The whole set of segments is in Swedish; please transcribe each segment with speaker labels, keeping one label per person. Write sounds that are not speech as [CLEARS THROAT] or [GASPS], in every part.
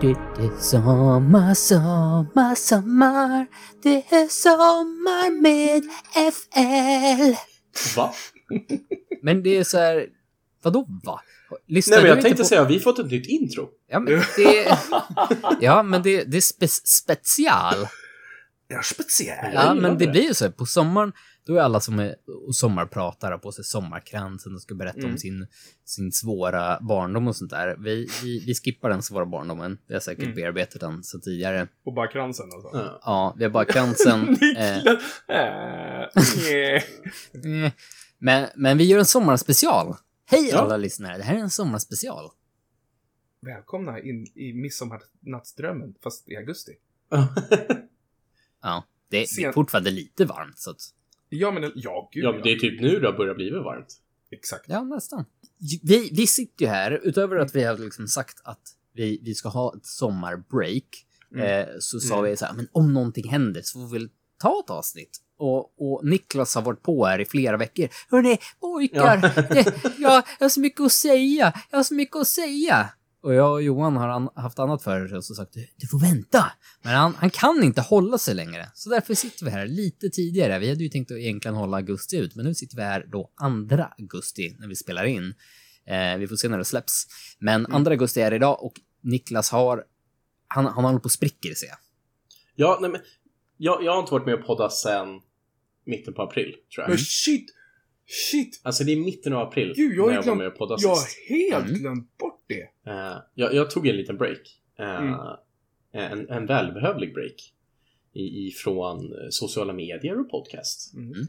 Speaker 1: du, det är sommar, sommar, sommar. Det är sommar med FL.
Speaker 2: [LAUGHS]
Speaker 3: Va?
Speaker 1: Men det är så här, vadå va? Lyssnar
Speaker 3: Nej, men
Speaker 1: du
Speaker 3: jag
Speaker 1: inte
Speaker 3: tänkte
Speaker 1: på-
Speaker 3: säga, vi har fått ett nytt
Speaker 2: [LAUGHS]
Speaker 3: intro.
Speaker 1: Ja, men det, ja, men det, det är spe, special.
Speaker 2: Ja, speciell.
Speaker 3: gillar
Speaker 1: Ja, men det
Speaker 3: det.
Speaker 1: blir ju så här, på sommaren, då är alla som är och sommarpratar har på sig sommarkransen och ska berätta om
Speaker 3: Mm.
Speaker 1: sin, sin svåra barndom och sånt där. Vi, vi, vi skippar den svåra barndomen. Vi har säkert
Speaker 2: Mm.
Speaker 1: bearbetat den så tidigare.
Speaker 2: Och bara kransen alltså.
Speaker 3: Ja.
Speaker 1: Ja, vi har
Speaker 3: [LAUGHS]
Speaker 1: bara kransen. eh,
Speaker 2: [LAUGHS] Niklas! Äh, yeah.
Speaker 1: eh, men, men vi gör en sommarspecial. Hej
Speaker 3: Ja.
Speaker 1: alla lyssnare, det här är en sommarspecial.
Speaker 2: Välkomna in i midsommarnattsdrömmen, fast i augusti.
Speaker 1: Ja, det, det är
Speaker 2: Sen-
Speaker 1: fortfarande lite varmt så att,
Speaker 2: Ja, men ja,
Speaker 3: [LAUGHS]
Speaker 2: gud
Speaker 3: ja, men det är typ nu det har börjat bli varmt.
Speaker 2: Exakt.
Speaker 1: ja nästan. Vi, vi sitter ju här, utöver att vi har liksom sagt att vi, vi ska ha ett sommarbreak.
Speaker 2: Mm.
Speaker 1: Eh, så sa
Speaker 2: Mm.
Speaker 1: vi så här, men om någonting händer så får vi väl ta ett avsnitt. Och, och Niklas har varit på här i flera veckor. Hörrni, pojkar!
Speaker 3: Ja.
Speaker 1: det- jag, jag har så mycket att säga! Jag har så mycket att säga! Och jag och Johan har an, haft annat för sig och så sagt du, du får vänta. Men han, han kan inte hålla sig längre. Så därför sitter vi här lite tidigare. Vi hade ju tänkt att egentligen hålla augusti ut, men nu sitter vi här då 2 augusti när vi spelar in. Eh, vi får se när det släpps. Men 2 augusti är det idag och Niklas har han, han håller på och spricker ser jag.
Speaker 3: Ja, nej men. Jag, jag har inte varit med och poddat sen mitten på april, tror
Speaker 2: Men
Speaker 3: jag.
Speaker 2: shit! Shit!
Speaker 3: Alltså det är mitten av april
Speaker 2: Gud, jag har
Speaker 3: när jag
Speaker 2: ju
Speaker 3: var
Speaker 2: glömt-
Speaker 3: med och poddade
Speaker 2: Jag
Speaker 3: sist.
Speaker 2: har helt
Speaker 1: Mm.
Speaker 2: glömt bort det.
Speaker 3: Eh, jag, jag tog en liten break. Eh,
Speaker 2: Mm.
Speaker 3: en, en välbehövlig break. I, ifrån eh, sociala medier och podcast.
Speaker 2: Mm.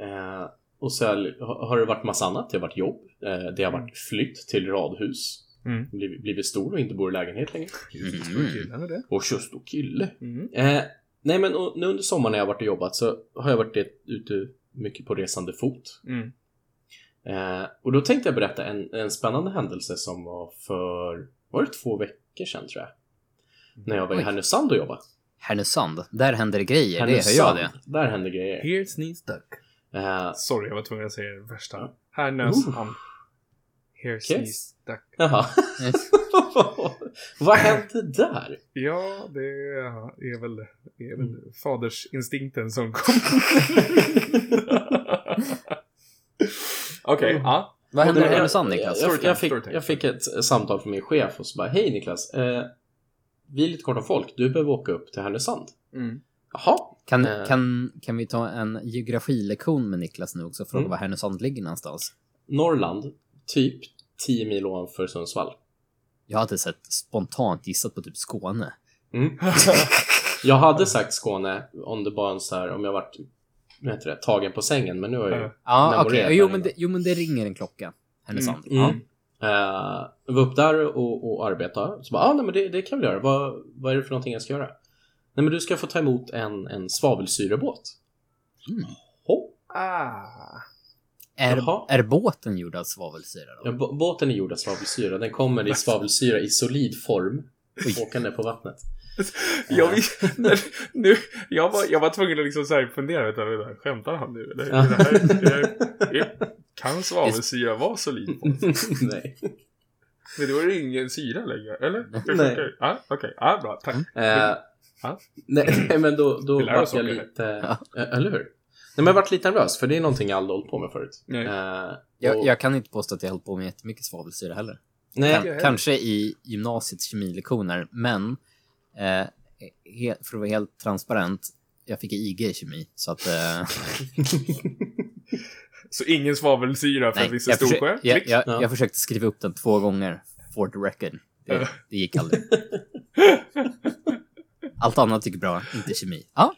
Speaker 3: Eh, och så har- har det varit massa annat. Det har varit jobb. Eh, det har
Speaker 2: Mm.
Speaker 3: varit flytt till radhus.
Speaker 2: Mm.
Speaker 3: Blivit, blivit stor och inte bor i lägenhet längre.
Speaker 1: Mm.
Speaker 2: Jesus, vad kul, är det?
Speaker 3: Och just och kille.
Speaker 2: Mm.
Speaker 3: Eh, nej men och, nu under sommaren när jag har varit och jobbat så har jag varit det, ute mycket på resande fot.
Speaker 2: Mm.
Speaker 3: Eh, och då tänkte jag berätta en, en spännande händelse som var för, var det två veckor sedan tror jag? När jag var
Speaker 1: Oj.
Speaker 3: i Härnösand och jobbade.
Speaker 1: Härnösand, där händer det grejer, det hör jag
Speaker 3: Härnösand,
Speaker 1: det.
Speaker 3: där händer grejer.
Speaker 2: Here's knees duck.
Speaker 3: Eh,
Speaker 2: Sorry, jag var tvungen att säga det värsta.
Speaker 3: Ja.
Speaker 2: Här nös han. Here's
Speaker 3: Okej.
Speaker 2: knees duck.
Speaker 3: jaha.
Speaker 1: Mm.
Speaker 3: [LAUGHS] Vad hände där?
Speaker 2: Ja, det är väl, är väl
Speaker 3: Mm.
Speaker 2: fadersinstinkten som kom. [LAUGHS] [LAUGHS] Okej, ja.
Speaker 1: Mm. Vad händer i
Speaker 3: Nej, jag-
Speaker 1: Härnösand Niklas?
Speaker 3: Jag, jag,
Speaker 2: Storytime,
Speaker 3: jag, fick,
Speaker 2: storytime.
Speaker 3: jag fick ett eh, samtal från min chef och så bara Hej Niklas, eh, vi är lite kort om folk, du behöver åka upp till Härnösand.
Speaker 2: Mm.
Speaker 3: Jaha,
Speaker 1: Kan,
Speaker 3: eh.
Speaker 1: kan, kan vi ta en geografilektion med Niklas nu också och fråga
Speaker 3: Mm.
Speaker 1: var Härnösand ligger någonstans?
Speaker 3: Norrland, typ 10 mil ovanför Sundsvall.
Speaker 1: Jag hade sett spontant gissat på typ Skåne.
Speaker 3: Jag hade sagt Skåne om det bara en så här, om jag varit vad heter det, tagen på sängen, men nu har jag ju...
Speaker 2: Ja.
Speaker 1: Ja,
Speaker 3: Memorerat
Speaker 1: okej.
Speaker 3: där
Speaker 1: Jo,
Speaker 3: inne.
Speaker 1: men det, jo, men det ringer en klocka. Härnösand.
Speaker 3: Mm. Eh, jag var upp där och, och arbetade. Så bara, ah, nej men det, det kan vi göra. Vad, vad är det för någonting jag ska göra? Nej men du ska få ta emot en, en svavelsyrebåt.
Speaker 1: Mm.
Speaker 3: Hopp.
Speaker 2: [LAUGHS] Ah.
Speaker 1: Ja. Är,
Speaker 3: Jaha.
Speaker 1: är båten gjord av svavelsyra då?
Speaker 3: Ja, bå- båten är gjord av svavelsyra. Den kommer i svavelsyra i solid form.
Speaker 1: Oj.
Speaker 3: Åkande på vattnet. Eh.
Speaker 2: Jag, vis- [LAUGHS] när, nu, jag, var, jag var tvungen att liksom så här fundera. Vänta, vänta, skämtar han nu eller?
Speaker 3: Ja.
Speaker 2: Det här, det här, det, kan svavelsyra vara solid?
Speaker 3: Eh, [LAUGHS] nej.
Speaker 2: Men då är det ingen syra längre, eller?
Speaker 3: Nej.
Speaker 2: Ja, Okej, ja, bra, tack.
Speaker 1: Mm.
Speaker 3: Eh,
Speaker 2: Ja.
Speaker 3: nej, nej, men då, då
Speaker 2: Vi lär
Speaker 3: vart
Speaker 2: oss
Speaker 3: jag
Speaker 2: saker.
Speaker 3: lite... eh, Eller hur? Nej, men jag vart lite nervös, för det är någonting jag aldrig hållit på med förut.
Speaker 2: Nej.
Speaker 3: Eh,
Speaker 1: Jag,
Speaker 3: och-
Speaker 1: jag kan inte påstå att jag höll på med jättemycket svavelsyra heller.
Speaker 3: nej,
Speaker 2: jag
Speaker 1: Kan,
Speaker 2: heller.
Speaker 1: kanske i gymnasiets kemilektioner, men eh, he, för att vara helt transparent, jag fick IG i kemi, så att... Eh,
Speaker 2: Så ingen svavelsyra för
Speaker 1: nej,
Speaker 2: Visse
Speaker 1: jag, försö-
Speaker 2: Storsjö?
Speaker 1: jag,
Speaker 2: Klick.
Speaker 1: jag,
Speaker 3: Ja.
Speaker 1: jag försökte skriva upp den två gånger, for the record. Det,
Speaker 2: Ja.
Speaker 1: det gick aldrig. Allt annat gick bra, inte kemi. Ja,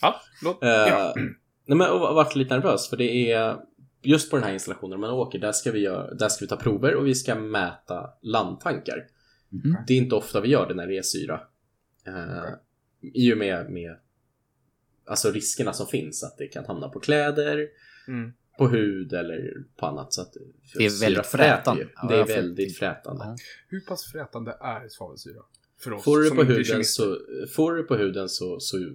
Speaker 2: Ja, låt.
Speaker 3: eh,
Speaker 2: ja.
Speaker 3: nej, men jag var- vart lite nervös, för det är... Just på den här installationen man åker, där ska, vi göra, där ska vi ta prover och vi ska mäta landtankar.
Speaker 1: Mhm.
Speaker 3: Det är inte ofta vi gör det när det är syra. Eh, I och med, med alltså riskerna som finns, att det kan hamna på kläder,
Speaker 2: Mm.
Speaker 3: på hud eller på annat. Så att
Speaker 1: Det är
Speaker 3: syra
Speaker 1: väldigt
Speaker 3: fräter
Speaker 1: frätande.
Speaker 3: ju.
Speaker 1: Ja,
Speaker 3: det är
Speaker 1: jag får-
Speaker 3: väldigt frätande.
Speaker 1: Ja.
Speaker 2: Hur pass frätande är svavelsyra? För oss
Speaker 3: Får du,
Speaker 2: som
Speaker 3: på
Speaker 2: inte är
Speaker 3: huden
Speaker 2: kemister?
Speaker 3: så, får du på huden så, så det,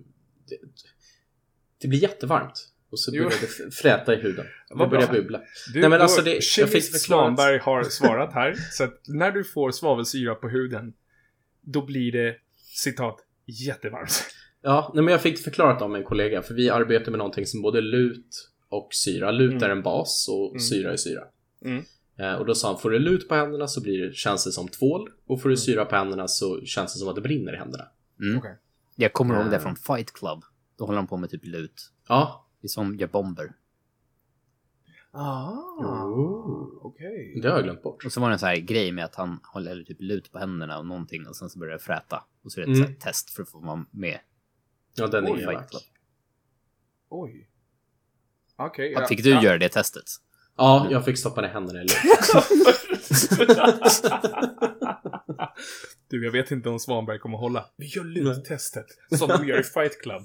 Speaker 3: det blir jättevarmt. Och så
Speaker 2: Jo.
Speaker 3: börjar det f- fräta i huden. Det
Speaker 2: [LAUGHS] Vad bra.
Speaker 3: börjar bubbla.
Speaker 2: Du,
Speaker 3: Nej, men
Speaker 2: då-
Speaker 3: alltså det- jag fick
Speaker 2: Kemist
Speaker 3: förklarat.
Speaker 2: Svanberg har svarat här. Så att när du får svavelsyra på huden, då blir det citat jättevarmt.
Speaker 3: Ja, nej, men jag fick förklarat av en kollega, för vi arbetar med någonting som både lut och syra. Lut
Speaker 2: Mm.
Speaker 3: är en bas och
Speaker 2: Mm.
Speaker 3: syra är syra.
Speaker 2: Mm.
Speaker 3: Eh, och då sa han, får du lut på händerna så blir det, känns det som tvål och får du
Speaker 2: Mm.
Speaker 3: syra på händerna så känns det som att det brinner i händerna.
Speaker 1: Mm.
Speaker 2: Okej.
Speaker 1: Jag kommer ihåg det
Speaker 3: Eh.
Speaker 1: från Fight Club. Då håller de på med typ lut.
Speaker 3: Ja,
Speaker 1: Det är som gör bomber.
Speaker 2: Ah,
Speaker 3: Ooh.
Speaker 1: Ah.
Speaker 2: okej.
Speaker 3: det har jag glömt bort.
Speaker 1: Och så var det en sån här grej med att han håller typ lut på händerna och någonting och sen så börjar det fräta. Och så är det ett
Speaker 3: Mm.
Speaker 1: så här test för att få vara med.
Speaker 3: Ja, den
Speaker 1: Oj,
Speaker 3: är elak.
Speaker 1: Fight Club.
Speaker 2: Oj. Okej.
Speaker 1: Ja, fick du göra det testet?
Speaker 3: Ja, jag fick stoppa ner händerna i lut.
Speaker 1: [LAUGHS]
Speaker 2: [LAUGHS] Du, jag vet inte om Svanberg kommer hålla. Vi gör luttestet. Som de gör i Fight Club.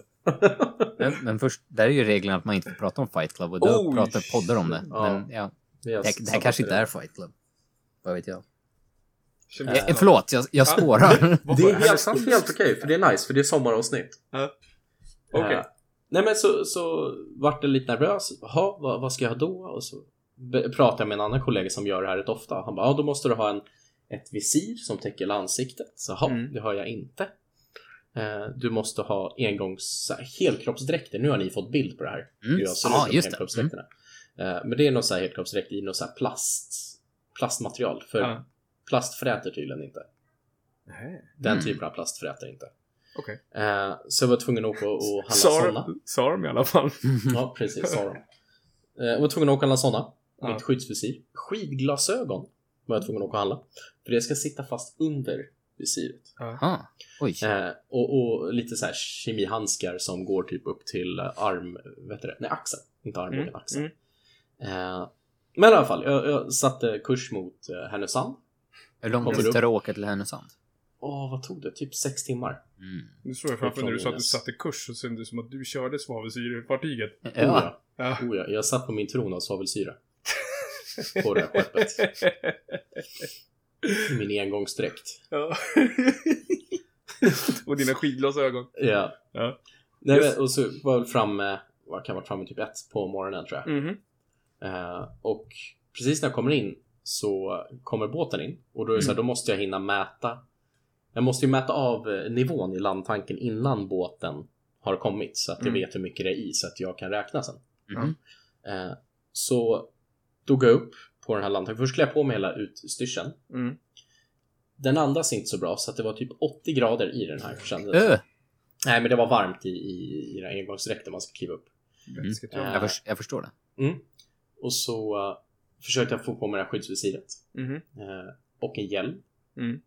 Speaker 1: Men, men först, där är ju reglerna att man inte får prata om Fight Club och då
Speaker 2: Oj.
Speaker 1: pratar poddar om det.
Speaker 3: Ja.
Speaker 1: Men ja,
Speaker 3: Jag
Speaker 1: det, det här
Speaker 3: satte
Speaker 1: kanske
Speaker 3: det.
Speaker 1: inte är Fight Club. Vad vet jag?
Speaker 2: Känns
Speaker 1: jag
Speaker 3: Eh,
Speaker 2: det-
Speaker 1: Eh, förlåt, jag,
Speaker 3: [LAUGHS]
Speaker 1: jag spårar. Mm.
Speaker 2: Vad
Speaker 3: Det
Speaker 2: var
Speaker 3: är
Speaker 2: här?
Speaker 3: helt, helt okej, för det är nice, för det är sommaravsnitt.
Speaker 2: Ja. Okej.
Speaker 3: Eh, nej men så, så vart jag lite nervös. Jaha, vad, vad ska jag ha då? Och så be- pratade jag med en annan kollega som gör det här rätt ofta. Han bara, ja då måste du ha en, ett visir som täcker hela ansiktet. Så jaha,
Speaker 2: Mm.
Speaker 3: det har jag inte. Eh, du måste ha engångs så här, helkroppsdräkter. Nu har ni fått bild på det här.
Speaker 1: Mm.
Speaker 3: Hur jag ser
Speaker 1: Ja,
Speaker 3: ut i de
Speaker 1: just det. Mm.
Speaker 3: helkroppsdräkterna. Eh, men det är någon så här helkroppsdräkt i något så här plast, plastmaterial. För
Speaker 2: Ja.
Speaker 3: plast fräter tydligen inte.
Speaker 2: Nej.
Speaker 3: Den
Speaker 1: Mm.
Speaker 3: typen av plast fräter inte.
Speaker 2: Okej.
Speaker 3: Eh, så jag var tvungen att åka och och handla
Speaker 2: Sa
Speaker 3: sådana.
Speaker 2: de- Sa de i alla fall.
Speaker 3: Ja, precis. Sa de. Eh, jag var tvungen att åka och handla sådana.
Speaker 2: Ja.
Speaker 3: Mitt skyddsvisir. Skidglasögon var jag tvungen att åka och handla. För det ska sitta fast under visiret.
Speaker 1: Aha. Oj.
Speaker 3: Eh, och, och lite så här kemihandskar som går typ upp till eh, arm... Vet du det? Nej, axeln. Inte armbågen,
Speaker 2: Mm,
Speaker 3: axeln. Eh, men i alla fall, jag, jag satte kurs mot eh, Härnösand.
Speaker 1: Hur långt
Speaker 3: kommer du
Speaker 1: tar
Speaker 3: upp?
Speaker 1: det att åka till Härnösand?
Speaker 3: Åh, vad tog det? Typ sex timmar.
Speaker 1: Mm.
Speaker 2: Nu såg jag framför när du sa att du
Speaker 3: Jonas.
Speaker 2: satte kurs så såg det som att du körde svavelsyrefartyget.
Speaker 3: Oh,
Speaker 1: Eh, Ja.
Speaker 3: ja.
Speaker 2: Ja.
Speaker 3: Oh, ja. Jag satt på min tron av svavelsyra. På det här skeppet. Min engångsdräkt.
Speaker 2: [LAUGHS] Ja. [LAUGHS] Och dina skidglasögon.
Speaker 3: Ja.
Speaker 2: Ja.
Speaker 3: Nej,
Speaker 2: Just-
Speaker 3: men, och så var jag väl framme, vad kan jag ha varit framme typ ett på morgonen tror jag.
Speaker 2: Mhm.
Speaker 3: Eh, och precis när jag kommer in så kommer båten in och då är det
Speaker 2: Mm.
Speaker 3: så här, då måste jag hinna mäta. Jag måste ju mäta av eh, nivån i landtanken innan båten har kommit så att jag
Speaker 2: Mm.
Speaker 3: vet hur mycket det är i så att jag kan räkna sen.
Speaker 1: Mhm.
Speaker 3: Eh, så då går jag upp på den här landtanken. Först klär jag på mig hela utstyrseln.
Speaker 2: Mm.
Speaker 3: Den andas inte så bra så att det var typ 80 grader i den här kändes det som.
Speaker 1: Ö.
Speaker 3: Nej, men det var varmt i, i, i den här engångsdräkten man ska kliva upp.
Speaker 2: Vätsket,
Speaker 3: Mm.
Speaker 2: ja.
Speaker 1: Jag, förs- jag förstår det.
Speaker 3: Och så eh, försökte jag få på mig det här skyddsvisiret.
Speaker 2: Mhm.
Speaker 3: eh, och en hjälm.
Speaker 2: Mm.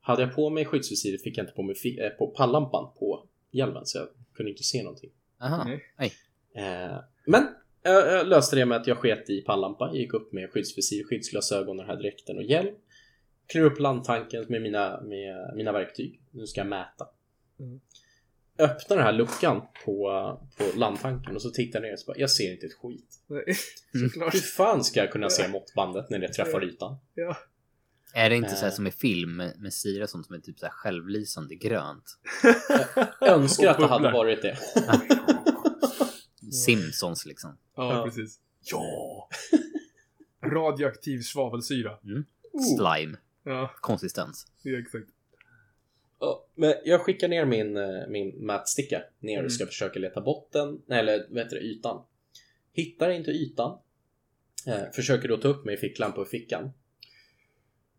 Speaker 3: Hade jag på mig skyddsvisiret fick jag inte på mig fi- eh, på pannlampan på hjälmen så jag kunde inte se någonting.
Speaker 1: Aha.
Speaker 3: Mm.
Speaker 2: Nej.
Speaker 3: Eh, men jag, jag löste det med att jag sket i pannlampan, gick upp med skyddsvisir, skyddsglasögon, den här dräkten och hjälm. Klev upp landtanken med mina, med mina verktyg. Nu ska jag mäta.
Speaker 2: Mm.
Speaker 3: Öppnar den här luckan på, på landtanken och så tittar jag ner och så bara, jag ser inte ett skit.
Speaker 2: Nej,
Speaker 1: Mm.
Speaker 2: Såklart.
Speaker 3: Hur fan ska jag kunna se måttbandet när det träffar ytan?
Speaker 2: Ja.
Speaker 1: Är det inte så här
Speaker 3: Eh.
Speaker 1: som i film med, med syra och sånt som är typ så här självlysande grönt?
Speaker 3: Jag önskar
Speaker 2: Och
Speaker 3: att det hade
Speaker 2: bubblar.
Speaker 3: varit det. Mm.
Speaker 1: Simpsons liksom.
Speaker 2: [LAUGHS] Ja,
Speaker 3: Ja.
Speaker 2: precis. Ja! [LAUGHS] Mm. Radioaktiv svavelsyra.
Speaker 3: Oh.
Speaker 2: Oh.
Speaker 1: Slime.
Speaker 2: Ja,
Speaker 1: Konsistens.
Speaker 2: det är exakt.
Speaker 3: Ja, Men jag skickar ner min, eh, min mätsticka ner
Speaker 1: Mm.
Speaker 3: och ska försöka leta botten, nej, eller vad heter det, ytan. Hittar inte ytan. Eh, försöker då ta upp mig i ficklampa ur fickan.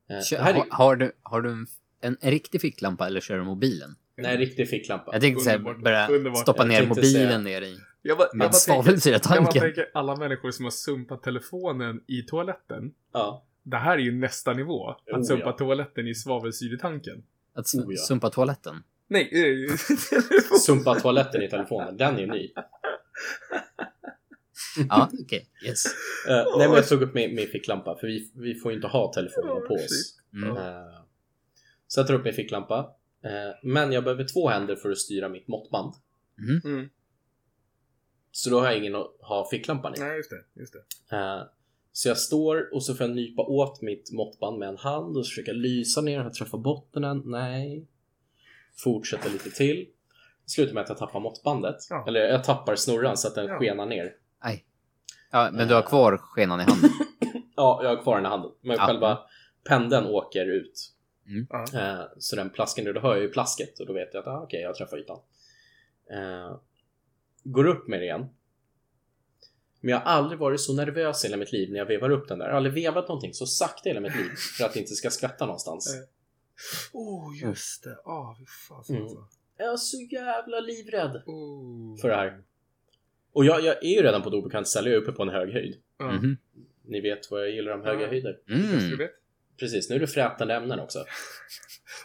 Speaker 3: Eh,
Speaker 1: Kör,
Speaker 3: det här är,
Speaker 1: har, har du, har du en, en, en riktig ficklampa eller kör du mobilen?
Speaker 3: nej, riktig ficklampa.
Speaker 1: Jag tänkte säga
Speaker 2: Underbart.
Speaker 1: bara
Speaker 2: Underbart.
Speaker 1: stoppa
Speaker 3: Jag
Speaker 1: ner
Speaker 3: tänkte
Speaker 1: mobilen
Speaker 3: säga-
Speaker 1: ner i.
Speaker 2: Jag bara, jag bara
Speaker 1: Med
Speaker 2: tänker, jag bara
Speaker 1: svavelsyratanken.
Speaker 2: tänker alla människor som har sumpat telefonen i toaletten.
Speaker 3: Ja.
Speaker 2: Det här är ju nästa nivå. Att
Speaker 3: Oh,
Speaker 2: sumpa
Speaker 3: ja.
Speaker 2: toaletten i svavelsyretanken.
Speaker 1: Att
Speaker 3: Oh,
Speaker 1: su-
Speaker 3: ja. [LAUGHS]
Speaker 1: sumpa toaletten.
Speaker 2: Nej, eh, [LAUGHS]
Speaker 3: Sumpa toaletten i telefonen, den är ny.
Speaker 1: Ja, okej. Yes.
Speaker 2: [LAUGHS]
Speaker 3: Eh, nej, men jag tog upp min, min ficklampa för vi, vi får ju inte ha telefonen på oss.
Speaker 1: Mm.
Speaker 3: Eh, Så jag tar upp min ficklampa. Eh, Men jag behöver två händer för att styra mitt måttband.
Speaker 1: Mhm.
Speaker 2: Mm.
Speaker 3: Så då har jag ingen att ha ficklampan i.
Speaker 2: Nej, just det. Just det.
Speaker 3: Eh, Så jag står och så får jag nypa åt mitt måttband med en hand och så försöker jag lysa ner och träffa bottenen. Nej. Fortsätter lite till. Det Slutar med att jag tappar måttbandet.
Speaker 2: Ja.
Speaker 3: Eller jag tappar snurran så att den
Speaker 2: Ja.
Speaker 3: skenar ner.
Speaker 1: Nej. Ja, men du har
Speaker 3: [LAUGHS]
Speaker 1: kvar skenan i handen.
Speaker 3: Ja, jag har kvar den i handen. Men
Speaker 1: Ja.
Speaker 3: själva pendeln åker ut.
Speaker 1: Mm.
Speaker 2: Ja.
Speaker 3: Eh, så den plasken, då hör jag ju plasket och då vet jag att ah, okej, jag träffar ytan. Eh, går upp med det igen. Men jag har aldrig varit så nervös i hela mitt liv när jag vevar upp den där. Jag har aldrig vevat någonting så sakta i hela
Speaker 2: [LAUGHS]
Speaker 3: mitt liv för att det inte ska skvätta någonstans.
Speaker 2: Nej. Oh, just det. Ah, fy fasen
Speaker 3: Mm.
Speaker 2: alltså.
Speaker 3: Jag är så jävla livrädd
Speaker 2: Oh.
Speaker 3: för det här. Och jag, jag är ju redan på ett obekant ställe, jag är uppe på en hög höjd.
Speaker 2: Ja.
Speaker 1: Mhm.
Speaker 3: Ni vet vad jag gillar om höga
Speaker 2: Ja.
Speaker 3: höjder.
Speaker 2: Kanske du
Speaker 1: Mm.
Speaker 2: vet.
Speaker 3: Precis, nu är det frätande ämnen
Speaker 2: [LAUGHS]
Speaker 3: också.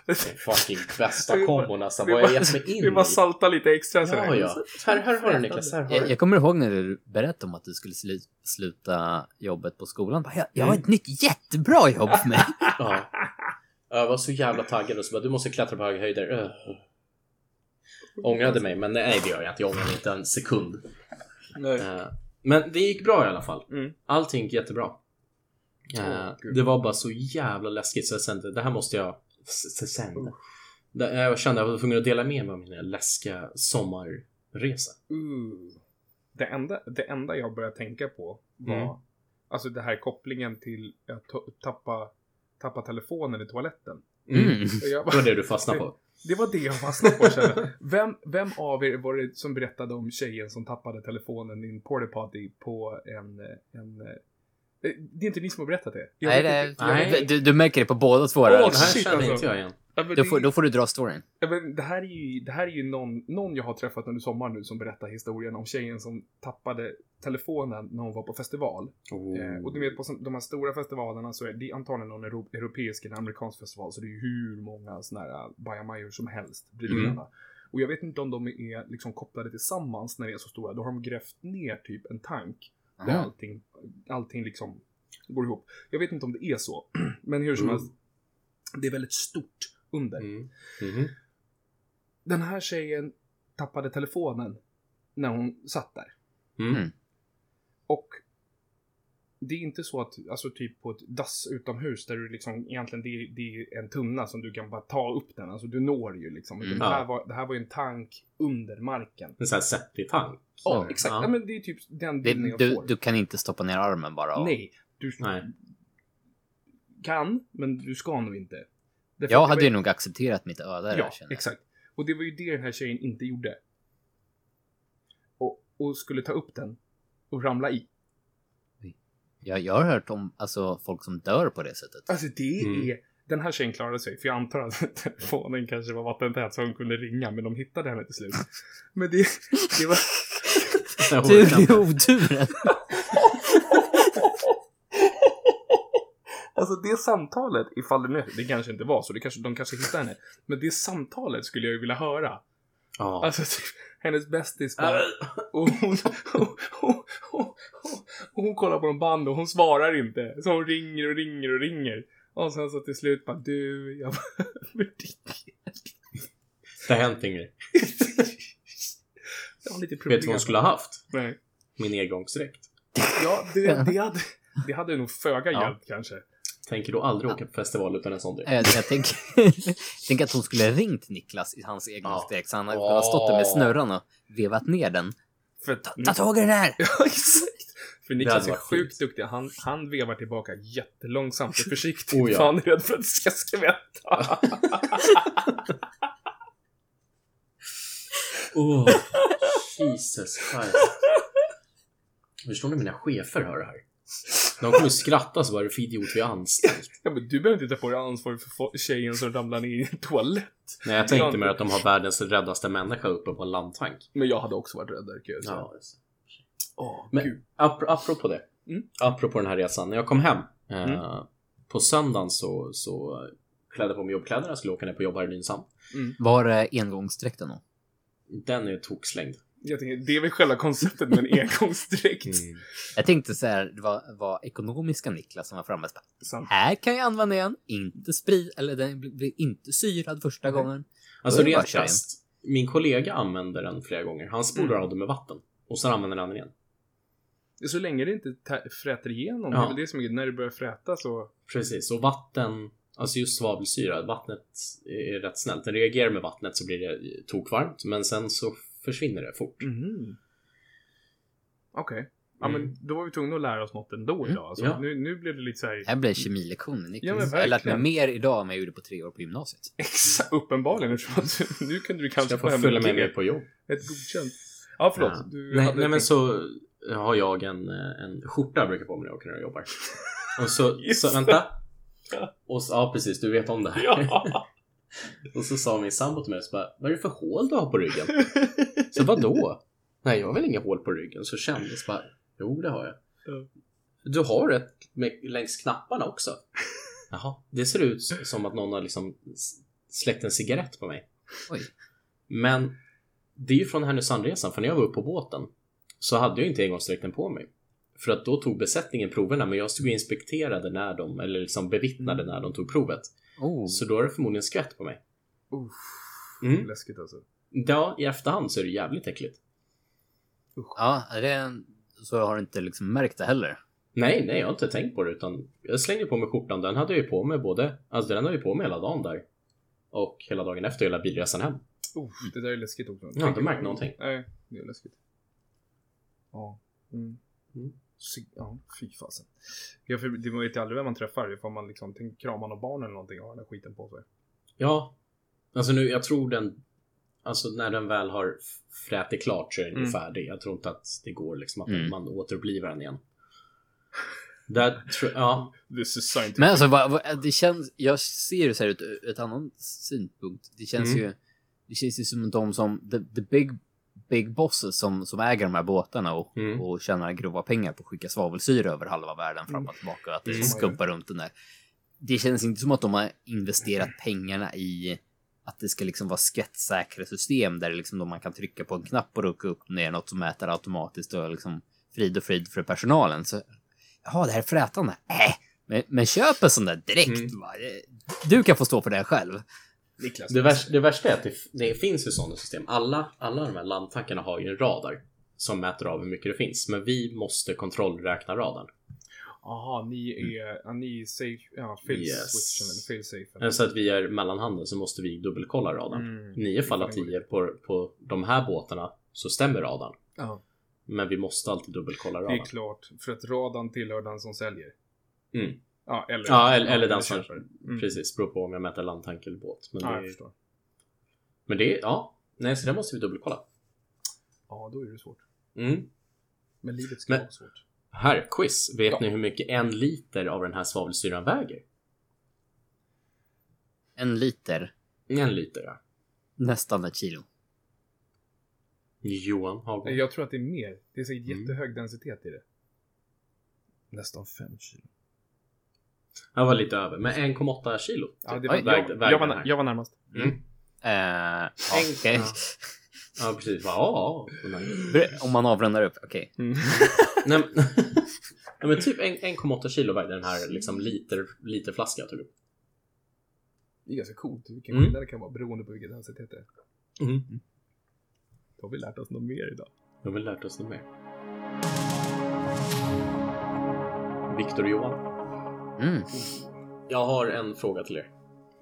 Speaker 3: Det är fucking bästa kombon nästan.
Speaker 2: Vi
Speaker 3: Mm. Vad har
Speaker 2: bara-
Speaker 3: jag gett mig in
Speaker 2: [LAUGHS] Vi bara
Speaker 3: i?
Speaker 2: salta lite extra
Speaker 3: Ja,
Speaker 2: sådär.
Speaker 3: ja. Här, här har du Niklas, här har
Speaker 1: Jag,
Speaker 3: du.
Speaker 1: jag kommer ihåg när du berättade om att du skulle slu- sluta jobbet på skolan. Bara, Jag, jag
Speaker 2: Mm.
Speaker 1: har ett nytt jättebra jobb för mig.
Speaker 3: Ja. Jag var så jävla taggad och så bara, du måste klättra på höga höjder. Öh. Ångrade mig, men nej det gör jag inte. Jag ångrar mig inte en sekund.
Speaker 2: Nej.
Speaker 3: Eh, Men det gick bra i alla fall.
Speaker 2: Mm.
Speaker 3: Allting gick jättebra. Eh,
Speaker 2: Åh, gud.
Speaker 3: det var bara så jävla läskigt så jag kände, det här måste jag... s- s- Sen.
Speaker 2: Usch.
Speaker 3: Det- Jag kände att jag var tvungen att dela med mig av min läskiga sommarresa.
Speaker 2: Uh. Det, enda, det enda jag började tänka på var
Speaker 3: Mm.
Speaker 2: alltså det här kopplingen till att ta- tappa, tappa telefonen i toaletten.
Speaker 1: Mm.
Speaker 2: Och jag
Speaker 3: Det
Speaker 2: bara,
Speaker 3: var det du fastnade på.
Speaker 2: [LAUGHS]
Speaker 3: [LAUGHS]
Speaker 2: det var det jag fastnade på kände. Vem, vem av er var det som berättade om tjejen som tappade telefonen i en porta potty på en, en... eh, Det är inte ni som har berättat det.
Speaker 1: [LAUGHS]
Speaker 2: Jag
Speaker 1: Nej,
Speaker 2: vet
Speaker 1: det,
Speaker 2: inte. Jag vet
Speaker 3: nej.
Speaker 1: Du, du märker det på båda två. här.
Speaker 3: det här
Speaker 2: shit,
Speaker 3: känner
Speaker 2: alltså.
Speaker 3: inte jag igen.
Speaker 2: Ja, men
Speaker 1: då,
Speaker 2: det-
Speaker 1: får, då får du dra storyn.
Speaker 2: Ja, men det här är ju, det här är ju någon, någon jag har träffat under sommaren nu som berättar historien om tjejen som tappade telefonen när hon var på festival.
Speaker 3: Oh.
Speaker 2: Eh,
Speaker 3: Mm.
Speaker 2: och du vet på sån- de här stora festivalerna så är det antagligen någon euro, europeisk eller amerikansk festival så det är ju hur många sådana här eh, bajamajor som helst.
Speaker 3: Mm.
Speaker 2: bredvid varandra. Och jag vet inte om de är liksom kopplade tillsammans när det är så stora. Då har de grävt ner typ en tank där
Speaker 1: Aha.
Speaker 2: allting, allting liksom går ihop. Jag vet inte om det är så, [CLEARS THROAT] men hur som
Speaker 3: Mm.
Speaker 2: helst. Det är väldigt stort under.
Speaker 3: Mm. Mhm.
Speaker 2: Den här tjejen tappade telefonen när hon satt där.
Speaker 3: Mm.
Speaker 1: Mm.
Speaker 2: Och det är inte så att, alltså typ på ett dass utomhus där du liksom egentligen, det är, det är en tunna som du kan bara ta upp den, alltså du når ju liksom.
Speaker 1: Mm.
Speaker 2: Det, här var, det här var ju en tank under marken.
Speaker 3: En sån här seppitank.
Speaker 2: Ja,
Speaker 1: Ja.
Speaker 2: exakt.
Speaker 3: Ja.
Speaker 2: Ja. men det är typ den
Speaker 1: Det,
Speaker 2: bilden jag
Speaker 1: du,
Speaker 2: får.
Speaker 1: du kan inte stoppa ner armen bara. och-
Speaker 2: Nej, du
Speaker 3: Nej.
Speaker 2: kan, men du ska nog inte. Därför
Speaker 1: Jag
Speaker 2: att det
Speaker 1: hade
Speaker 2: var-
Speaker 1: ju nog accepterat mitt öde. där,
Speaker 2: Ja,
Speaker 1: känner jag.
Speaker 2: exakt. Och det var ju det den här tjejen inte gjorde. Och, och skulle ta upp den och ramla i.
Speaker 1: Jag, jag har hört om alltså, folk som dör på det sättet.
Speaker 2: Alltså det
Speaker 3: Mm.
Speaker 2: är... Den här tjejen klarade sig, för jag antar att [LAUGHS] telefonen kanske var vattentät så hon kunde ringa, men de hittade henne till slut. Men det, det var...
Speaker 3: [LAUGHS] Jag orkar
Speaker 1: Tur i
Speaker 3: inte.
Speaker 1: oturen.
Speaker 2: Alltså det samtalet, ifall det nu... Det kanske inte var så, det kanske, de kanske hittade henne. Men det samtalet skulle jag ju vilja höra.
Speaker 3: Ja.
Speaker 2: Alltså [LAUGHS] typ, hennes bästis bara... Och hon, och, och, och, och hon kollar på en band och hon svarar inte. Så hon ringer och ringer och ringer. Och sen så till slut bara [LAUGHS] du, jag behöver ditt
Speaker 3: Det har hänt Ingrid.
Speaker 2: Jag har lite problem.
Speaker 3: Vet du vad hon skulle ha haft?
Speaker 2: Nej.
Speaker 3: Min nedgångsdräkt.
Speaker 2: Ja, det, det, hade, det hade nog föga
Speaker 1: Ja.
Speaker 2: hjälpt kanske.
Speaker 3: Tänker då aldrig åka på festival utan en sån dräkt.
Speaker 1: jag, Eh, jag tänker [LAUGHS] tänk att hon skulle ha ringt Niklas i hans egna
Speaker 3: Ja.
Speaker 1: steg så han hade kunnat stått där med snurran och vevat ner den.
Speaker 2: För,
Speaker 1: Ta tag i den [LAUGHS] här!
Speaker 2: Ja, exakt. För Niklas
Speaker 3: hade
Speaker 2: är
Speaker 3: varit
Speaker 2: sjukt duktig. Han, han vevar tillbaka jättelångsamt och försiktigt.
Speaker 3: Oh, ja.
Speaker 2: För han är rädd för att det ska skvätta.
Speaker 3: Oh,
Speaker 2: [LAUGHS]
Speaker 3: Jesus Christ. Förstår ni mina chefer hör det här? De kommer skratta så bara, "Vad är det för idiot vi har anställt?
Speaker 2: Ja, men du behöver inte ta på dig ansvar för fo- tjejen som ramlar ner i en toalett.
Speaker 3: Nej, jag tänkte mer att de har världens räddaste människa uppe på en landtank.
Speaker 2: Men jag hade också varit rädd där kan jag säga.
Speaker 3: Ja,
Speaker 2: typ. Åh,
Speaker 3: Men-
Speaker 2: gud.
Speaker 3: Ap- apropå det.
Speaker 2: Mm.
Speaker 3: Apropå den här resan. När jag kom hem eh,
Speaker 2: Mm.
Speaker 3: på söndagen så, så klädde jag på mig jobbkläderna. Jag skulle åka ner på jobb här i Nynäshamn.
Speaker 1: Var det engångsdräkten då?
Speaker 3: Den är tokslängd.
Speaker 2: Jag tänker, det är väl själva konceptet med [LAUGHS] en engångsdräkt.
Speaker 1: Jag tänkte så här, det var, var ekonomiska Niklas som var framme. Så bara,
Speaker 2: Sant.
Speaker 1: Här kan jag använda den, inte sprid, eller den blir- blir inte syrad första
Speaker 2: Nej.
Speaker 1: gången.
Speaker 3: Alltså
Speaker 1: Då är det bara
Speaker 3: rent
Speaker 1: att köra in.
Speaker 3: krasst. Min kollega använder den flera gånger. Han spolar
Speaker 2: Mm.
Speaker 3: av den med vatten. Och sen använder han den igen.
Speaker 2: Så länge det inte tä- fräter igenom.
Speaker 3: Ja.
Speaker 2: Det är väl det som är När det börjar fräta så...
Speaker 3: Precis, och vatten, alltså just svavelsyra, vattnet är rätt snällt. Den reagerar med vattnet så blir det
Speaker 2: Mm.
Speaker 3: tokvarmt, men sen så försvinner det fort.
Speaker 2: Mhm. Okej. Ja,
Speaker 1: Mm.
Speaker 2: men då var vi tvungna att lära oss något ändå idag. Alltså,
Speaker 3: Ja.
Speaker 2: nu, nu blev det lite så här...
Speaker 1: Det här blev kemilektion med
Speaker 2: Ja, men
Speaker 1: Niklas. jag lärde mig
Speaker 2: verkligen.
Speaker 1: mer idag än vad jag gjorde på tre år på gymnasiet.
Speaker 2: Exa, uppenbarligen, eftersom att [LAUGHS] nu kunde du kanske
Speaker 3: Jag får följa med
Speaker 2: betyg.
Speaker 3: mer på jobb.
Speaker 2: Ett godkänt. Ja, förlåt.
Speaker 3: Ja.
Speaker 2: Du
Speaker 3: Nej,
Speaker 2: hade
Speaker 3: nej men
Speaker 2: [LAUGHS] tänkt-
Speaker 3: så har jag en, eh, en skjorta jag brukar på mig när jag åker när jag
Speaker 2: [LAUGHS]
Speaker 3: jobbar. Och så,
Speaker 2: Just
Speaker 3: så
Speaker 2: det.
Speaker 3: vänta. Och så, ja precis, du vet om det här.
Speaker 2: Ja.
Speaker 3: [LAUGHS] Och så sa min sambo till mig, så bara, vad är det för hål du har på ryggen? Så vad då? Nej, jag har väl inga hål på ryggen. Så kände jag, så bara, jo det har jag.
Speaker 2: Ja.
Speaker 3: Du har ett med, längs knapparna också. Jaha, det ser ut som att någon har liksom s- släckt en cigarett på mig.
Speaker 1: Oj.
Speaker 3: Men det är ju från Härnösandresan, för när jag var uppe på båten så hade jag inte engångsdräkten på mig. För att då tog besättningen proverna, men jag stod och inspekterade när de, eller liksom bevittnade när de tog provet.
Speaker 1: Oh.
Speaker 3: Så då har det förmodligen skvätt på mig.
Speaker 2: Uff,
Speaker 3: Mm.
Speaker 2: Läskigt alltså.
Speaker 3: Ja, i efterhand så är det jävligt äckligt.
Speaker 1: Ja, är det, så har du inte liksom märkt det heller.
Speaker 3: Nej, nej, jag har inte tänkt på det utan jag slängde på mig skjortan. Den hade jag ju på mig både, alltså den hade jag ju på mig hela dagen där. Och hela dagen efter hela bilresan hem.
Speaker 2: Uff, det där är läskigt också.
Speaker 3: Mm. Jag har inte märkt någonting.
Speaker 2: Nej, det är läskigt. Ja. Mm.
Speaker 3: Mm.
Speaker 2: Sy- Ja, fy fasen. Ja, för det man vet ju aldrig vem man träffar. Ifall man liksom tänk, kramar någon barn eller någonting och har den här skiten på sig.
Speaker 3: Ja, alltså nu, jag tror den, alltså när den väl har f- frätit klart så är den ju
Speaker 2: Mm.
Speaker 3: färdig. Jag tror inte att det går liksom att
Speaker 1: Mm.
Speaker 3: man återupplivar den igen. Där tror ja,
Speaker 2: This is scientific.
Speaker 1: Men alltså, vad, vad, det känns, jag ser det så här ut ett annat synpunkt. Det känns
Speaker 3: Mm.
Speaker 1: ju, det känns ju som de som, the, the big, big bosses som, som äger de här båtarna och,
Speaker 3: Mm.
Speaker 1: och tjänar grova pengar på att skicka svavelsyra över halva världen fram och tillbaka och att det
Speaker 3: Mm.
Speaker 1: skumpar runt den där. Det känns inte som att de har investerat pengarna i att det ska liksom vara skvättsäkra system där det liksom då man kan trycka på en knapp och rucka upp och ner något som mäter automatiskt och liksom frid och frid för personalen. Så, jaha, det här är frätande. Äh, men, men köp en sån där direkt.
Speaker 3: Mm.
Speaker 1: Va? Du kan få stå för det här själv.
Speaker 2: Niklas.
Speaker 3: Det, värsta, det värsta är att det, det finns ju sådana system. Alla, alla de här landtankarna har ju en radar som mäter av hur mycket det finns. Men vi måste kontrollräkna radarn.
Speaker 2: Aha, ni är, ja, ni är safe. Ja, fail
Speaker 3: Mm. Yes.
Speaker 2: switchen eller fail safe.
Speaker 3: Eh, Så att vi är mellanhanden så måste vi dubbelkolla radarn.
Speaker 2: Mm.
Speaker 3: Nio fall av tio på, på de här båtarna så stämmer radarn.
Speaker 2: Ja,
Speaker 3: Men vi måste alltid dubbelkolla
Speaker 2: det är
Speaker 3: radarn.
Speaker 2: klart. För att radan tillhör den som säljer.
Speaker 3: Mm.
Speaker 2: Ja, eller,
Speaker 3: Ja, eller- eller den som-
Speaker 2: köper. Mm.
Speaker 3: Precis, beror på om jag mäter landtank eller båt. Men
Speaker 2: Ja, jag
Speaker 3: det, är-
Speaker 2: förstår.
Speaker 3: men det är, ja. Nej, så det måste vi dubbelkolla.
Speaker 2: Ja, då är det svårt.
Speaker 3: Mm.
Speaker 2: Men livet ska
Speaker 3: Men-
Speaker 2: vara svårt.
Speaker 3: Här, quiz. Vet
Speaker 2: Ja.
Speaker 3: ni hur mycket en liter av den här svavelsyran väger?
Speaker 1: En liter,
Speaker 3: En liter, ja.
Speaker 1: nästan ett kilo.
Speaker 3: Johan Hagman.
Speaker 2: Nej, Jag tror att det är mer. Det är säkert
Speaker 3: Mm.
Speaker 2: jättehög densitet i det. Nästan 5 kilo.
Speaker 3: Jag var lite över, men 1,8 kilo.
Speaker 2: Ja, det
Speaker 3: typ.
Speaker 2: var,
Speaker 1: Oj,
Speaker 3: vägde-
Speaker 2: jag,
Speaker 3: vägde
Speaker 2: jag, var,
Speaker 3: den
Speaker 2: na-
Speaker 3: här.
Speaker 2: jag var närmast.
Speaker 3: Mm.
Speaker 1: Eh, ja, okej.
Speaker 3: ja. Ja, precis. Bara, ja, ja. Den här-
Speaker 1: Om man avrundar upp, okej.
Speaker 3: Mm. Nej, men- [LAUGHS] Nej, men typ en- 1,8 kilo vägde den här liksom, liter, literflaskan. Typ.
Speaker 2: Det är ganska coolt vilken
Speaker 3: Mm.
Speaker 2: skillnad det kan vara beroende på vilken densitet det är.
Speaker 3: Mm.
Speaker 2: Då har vi lärt oss något mer idag.
Speaker 3: Nu har vi lärt oss något mer. Viktor och Johan.
Speaker 1: Mm.
Speaker 3: Jag har en fråga till er.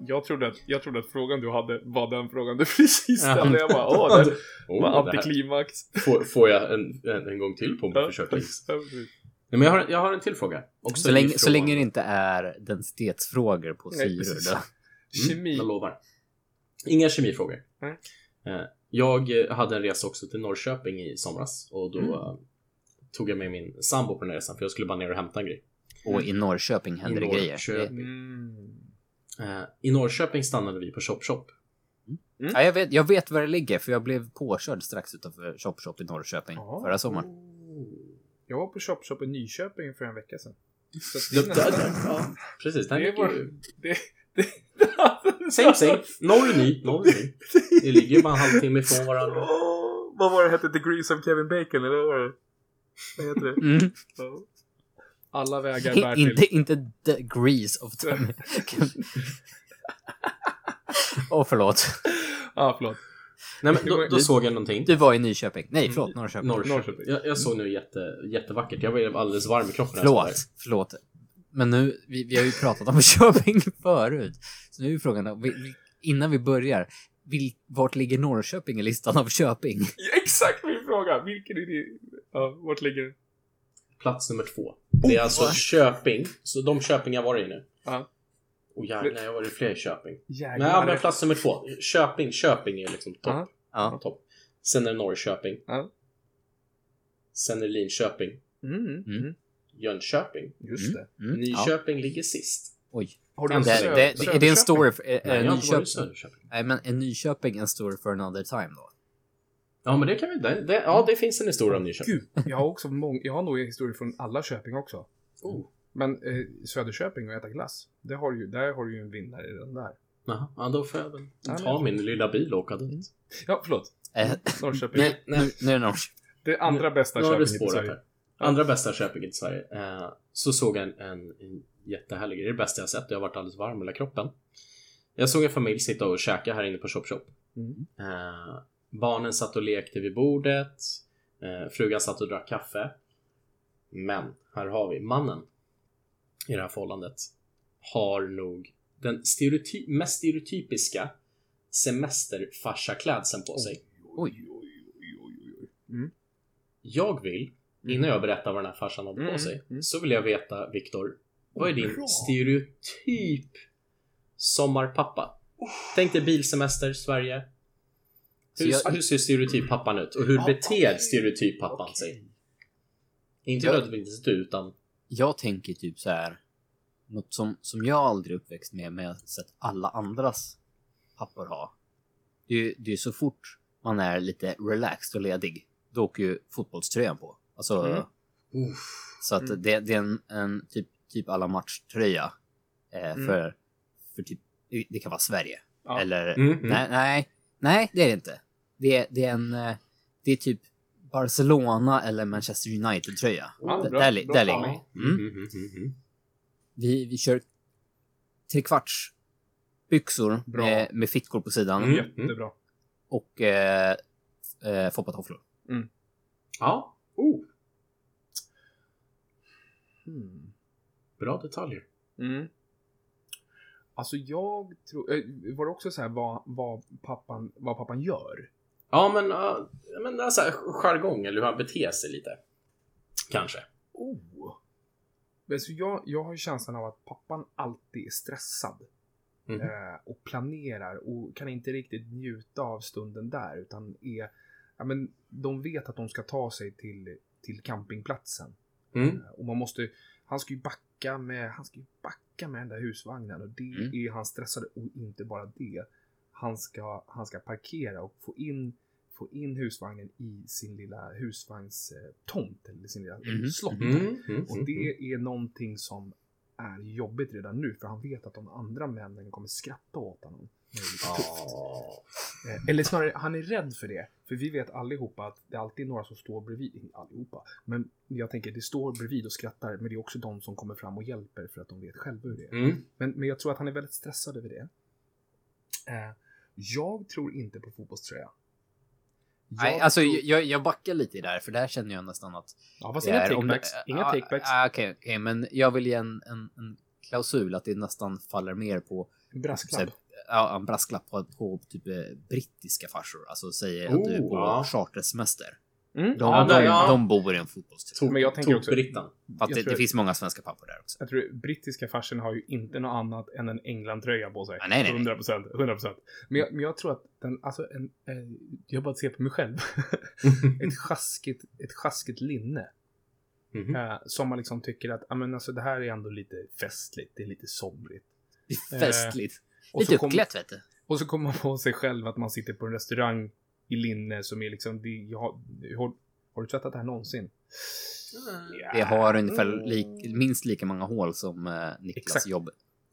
Speaker 2: Jag trodde, att, jag trodde att frågan du hade var den frågan du precis
Speaker 3: Ja.
Speaker 2: ställde. Jag bara, åh, det
Speaker 3: [LAUGHS] Oh,
Speaker 2: var
Speaker 3: det här.
Speaker 2: antiklimax.
Speaker 3: Får, får jag en, en, en gång till på mig?
Speaker 2: Ja.
Speaker 3: Försöka gissa.
Speaker 2: Ja, precis.
Speaker 3: Nej, men jag, har, jag har en till fråga. Också
Speaker 1: Så, länge,
Speaker 3: ifrån-
Speaker 1: så länge det inte är densitetsfrågor på
Speaker 2: Nej,
Speaker 1: syror
Speaker 2: precis.
Speaker 1: då. Mm,
Speaker 2: Kemi.
Speaker 3: Mm, Jag lovar. Inga kemifrågor.
Speaker 2: Nej.
Speaker 3: Eh, Jag eh, hade en resa också till Norrköping i somras och då
Speaker 1: Mm.
Speaker 3: eh, tog jag med min sambo på den här resan för jag skulle bara ner och hämta en grej.
Speaker 1: Och i Norrköping händer det grejer.
Speaker 3: Norrköping.
Speaker 2: Mm.
Speaker 3: Eh, I Norrköping stannade vi på Chop
Speaker 2: [LAUGHS]
Speaker 3: Chop.
Speaker 1: Ja, jag, vet, jag vet var det ligger för jag blev påkörd strax utanför Chop Chop i Norrköping
Speaker 2: Ja.
Speaker 1: förra sommaren.
Speaker 2: Jag var på Chop Shop i Nyköping för en vecka sedan. Så att
Speaker 3: Det,
Speaker 2: det är nästan...
Speaker 3: ja, precis, den
Speaker 2: Det
Speaker 3: ligger
Speaker 2: var-
Speaker 3: ju...
Speaker 2: Det, det,
Speaker 1: [LAUGHS]
Speaker 3: Same same. Norr är ny,
Speaker 2: [LAUGHS]
Speaker 3: norr är ny. Det ligger ju bara en halvtimme ifrån varandra.
Speaker 2: Åh, [GASPS] vad var det hette? Degrees of Kevin Bacon, eller vad var det? Vad heter
Speaker 1: [LAUGHS]
Speaker 2: det?
Speaker 1: Mm.
Speaker 2: Ja. Alla vägar bär
Speaker 1: In,
Speaker 2: till...
Speaker 1: inte, inte the grease of time. Åh, [LAUGHS] förlåt.
Speaker 2: Ja, förlåt.
Speaker 3: Nej, men då,
Speaker 2: Det
Speaker 3: då
Speaker 2: var-
Speaker 3: såg jag någonting.
Speaker 1: Du var i Nyköping. Nej, förlåt, Norrköping.
Speaker 3: Norrköping.
Speaker 2: Norrköping.
Speaker 3: Jag, jag såg nu jätte, jättevackert. Jag blev alldeles varm i kroppen. när jag såg
Speaker 1: Förlåt, förlåt. Men nu, vi, vi har ju pratat om [LAUGHS] Köping förut. Så nu är frågan, då, vi, vi, innan vi börjar, vil, vart ligger Norrköping i listan av Köping?
Speaker 2: Ja, Exakt min fråga! Vilken är din... Ja, vart ligger den?
Speaker 3: Plats nummer
Speaker 2: Oh,
Speaker 3: två. Det är alltså Köping. Så de Köpingar var det i nu.
Speaker 2: Ja.
Speaker 3: Och jävlar, jag var det fler i Köping.
Speaker 2: Jävlar.
Speaker 3: Nej, men plats nummer två. Köping, Köping är liksom topp.
Speaker 2: Ja.
Speaker 1: Ja.
Speaker 3: topp. Sen är det Norrköping.
Speaker 2: Ja.
Speaker 3: Sen är det Linköping.
Speaker 2: Mm, mm.
Speaker 3: Jönköping.
Speaker 2: Just det.
Speaker 1: Mm. Ja.
Speaker 3: Nyköping ligger sist.
Speaker 1: Oj.
Speaker 2: Har
Speaker 1: Det,
Speaker 3: Men
Speaker 1: det,
Speaker 3: Sö-
Speaker 1: det, är det en story? För, är,
Speaker 3: Nej,
Speaker 1: är
Speaker 3: jag har inte varit i
Speaker 1: Eh, Nyköping,
Speaker 3: Söderköping.
Speaker 1: nej, men är Nyköping en story for another time då?
Speaker 3: Ja, men det kan vi... Det, det, ja, det finns en historia om Nyköping.
Speaker 2: Gud, jag har också många, jag har nog historier från alla Köping också.
Speaker 3: Oh.
Speaker 2: Men eh, Söderköping och äta glass, det har du ju, där har du ju en vinnare redan där.
Speaker 3: Jaha, ja, då får jag väl
Speaker 2: Ja,
Speaker 3: ta
Speaker 2: men-
Speaker 3: min lilla bil och åka dit.
Speaker 1: Mm.
Speaker 2: Ja, förlåt.
Speaker 1: Eh,
Speaker 2: Norrköping.
Speaker 3: Nej, Mm. nej.
Speaker 1: [LAUGHS] nu, nu är det Norrköping.
Speaker 2: Det andra bästa
Speaker 3: Nu har
Speaker 2: Köping
Speaker 3: det
Speaker 2: i
Speaker 3: spårat
Speaker 2: Sverige.
Speaker 3: här. Andra bästa Köpinget i Sverige. Eh, så såg jag en, en, en jättehärlig grej. Det är det bästa jag sett. Jag har varit alldeles varm i hela kroppen. Jag såg en familj sitta och käka här inne på Chop Chop.
Speaker 2: Mm.
Speaker 3: Eh, barnen satt och lekte vid bordet. Eh, frugan satt och drack kaffe. Men här har vi mannen i det här förhållandet har nog den stereoty- mest stereotypiska semesterfarsaklädseln på sig.
Speaker 1: Oj.
Speaker 3: Jag vill, innan jag berättar vad den här farsan hade på
Speaker 2: Mm,
Speaker 3: sig,
Speaker 2: mm.
Speaker 3: så vill jag veta, Viktor, vad är din
Speaker 2: Bra.
Speaker 3: stereotyp sommarpappa? Tänk dig bilsemester, Sverige.
Speaker 1: Så
Speaker 3: Hur,
Speaker 1: jag-
Speaker 3: hur ser stereotyp pappan ut? Och hur
Speaker 2: Ja,
Speaker 3: beter
Speaker 2: Ah, okej.
Speaker 3: stereotyp pappan
Speaker 2: Okej.
Speaker 3: sig? Inte
Speaker 1: Jag-
Speaker 3: nödvändigtvis du, utan...
Speaker 1: Jag tänker typ så här. Något som, som jag aldrig uppväxt med, men jag har sett alla andras pappor ha. Det är ju det är så fort man är lite relaxed och ledig, då åker ju fotbollströjan på. Alltså,
Speaker 2: Mm.
Speaker 1: Så att
Speaker 2: Mm.
Speaker 1: det, det är en, en typ, typ alla matchtröja. Eh,
Speaker 2: Mm.
Speaker 1: för, för typ, det kan vara Sverige.
Speaker 2: Ja.
Speaker 1: Eller,
Speaker 3: Mm, mm.
Speaker 1: nej, nej, nej, det är det inte. Det, det är en, eh, det är typ Barcelona eller Manchester United-tröja.
Speaker 2: Ja,
Speaker 1: D-
Speaker 2: bra,
Speaker 1: där, li-
Speaker 2: bra
Speaker 1: där
Speaker 2: plan.
Speaker 1: ligger vi. Mm.
Speaker 3: Mm, mm, mm, mm.
Speaker 1: Vi, vi kör trekvarts byxor
Speaker 2: Bra.
Speaker 1: med, med fickor på sidan
Speaker 3: Mm.
Speaker 2: Jättebra.
Speaker 1: och eh, eh, foppatofflor.
Speaker 3: Ja, oh,
Speaker 2: Mm.
Speaker 3: bra detaljer.
Speaker 2: Mm. Alltså jag tror, eh, var det också så här vad, vad, pappan, vad pappan gör?
Speaker 3: Ja, men, ja, men alltså, jargong, eller hur han beter sig lite. Kanske.
Speaker 2: Oh. Men så jag, jag har ju känslan av att pappan alltid är stressad.
Speaker 3: Mhm.
Speaker 2: Eh, och planerar och kan inte riktigt njuta av stunden där utan är, ja men de vet att de ska ta sig till, till campingplatsen.
Speaker 3: Mm.
Speaker 2: Och man måste, han ska ju backa med, han ska ju backa med den där husvagnen och det
Speaker 1: Mm.
Speaker 2: är han stressade och inte bara det. Han ska, han ska parkera och få in, få in husvagnen i sin lilla husvagnstomt eller sin lilla
Speaker 1: Mhm.
Speaker 2: slott.
Speaker 3: Mm, mm, mm,
Speaker 2: Och det är någonting som är jobbigt redan nu för han vet att de andra männen kommer skratta åt honom. Det är lite
Speaker 1: Mm.
Speaker 2: tufft.
Speaker 3: Ja.
Speaker 2: Eh, Eller snarare, han är rädd för det. För vi vet allihopa att det alltid är några som står bredvid. inte Allihopa. Men jag tänker, det står bredvid och skrattar. Men det är också de som kommer fram och hjälper för att de vet själva hur det är.
Speaker 3: Mm.
Speaker 2: Men, men jag tror att han är väldigt stressad över det. Eh, jag tror inte på fotbollströja. Jag
Speaker 1: Nej, alltså
Speaker 2: tror-
Speaker 1: jag, jag backar lite i det här, för det här känner jag nästan att
Speaker 2: Ja, fast
Speaker 1: Det
Speaker 2: inga
Speaker 1: är om det-
Speaker 2: takebacks. Inga
Speaker 1: ja,
Speaker 2: takebacks.
Speaker 1: ja, Okej, okej, men jag vill ge en, en, en klausul att det nästan faller mer på
Speaker 2: Brasklapp.
Speaker 1: så här, ja, en brasklapp på, på typ eh, brittiska farsor. Alltså säger att du är
Speaker 3: Oh,
Speaker 1: på
Speaker 3: ja.
Speaker 1: chartersemester.
Speaker 2: Mm.
Speaker 1: De,
Speaker 3: Ja,
Speaker 1: de,
Speaker 3: nej, ja.
Speaker 1: de bor i en fotbollstull.
Speaker 3: Tok,
Speaker 2: Men jag tänker också- [LAUGHS]
Speaker 3: Tokbrittan.
Speaker 1: Att
Speaker 2: jag
Speaker 1: det,
Speaker 2: tror-
Speaker 1: det finns många svenska pappor där också.
Speaker 2: Jag tror brittiska farsen har ju inte något annat än en England-tröja på sig.
Speaker 1: Ah, nej, nej, nej.
Speaker 2: 100 procent. 100 procent. Men, jag- men jag tror att den, alltså en, eh, jag bara ser på mig själv. [LAUGHS] ett, sjaskigt, ett sjaskigt linne.
Speaker 3: Mhm.
Speaker 2: Eh, som man liksom tycker att, ja men alltså det här är ändå lite festligt, det är lite somrigt.
Speaker 1: Det är festligt.
Speaker 2: Eh, Och
Speaker 1: Lite
Speaker 2: så, kom,
Speaker 1: uppklätt vet du.
Speaker 2: och så kommer man på sig själv att man sitter på en restaurang i linne som är liksom, det, jag, har, har, har du tvättat det här någonsin? Ja,
Speaker 1: Det har ungefär
Speaker 2: Mm.
Speaker 1: lik, minst lika många hål som eh, Niklas
Speaker 2: Exakt.
Speaker 1: jobb.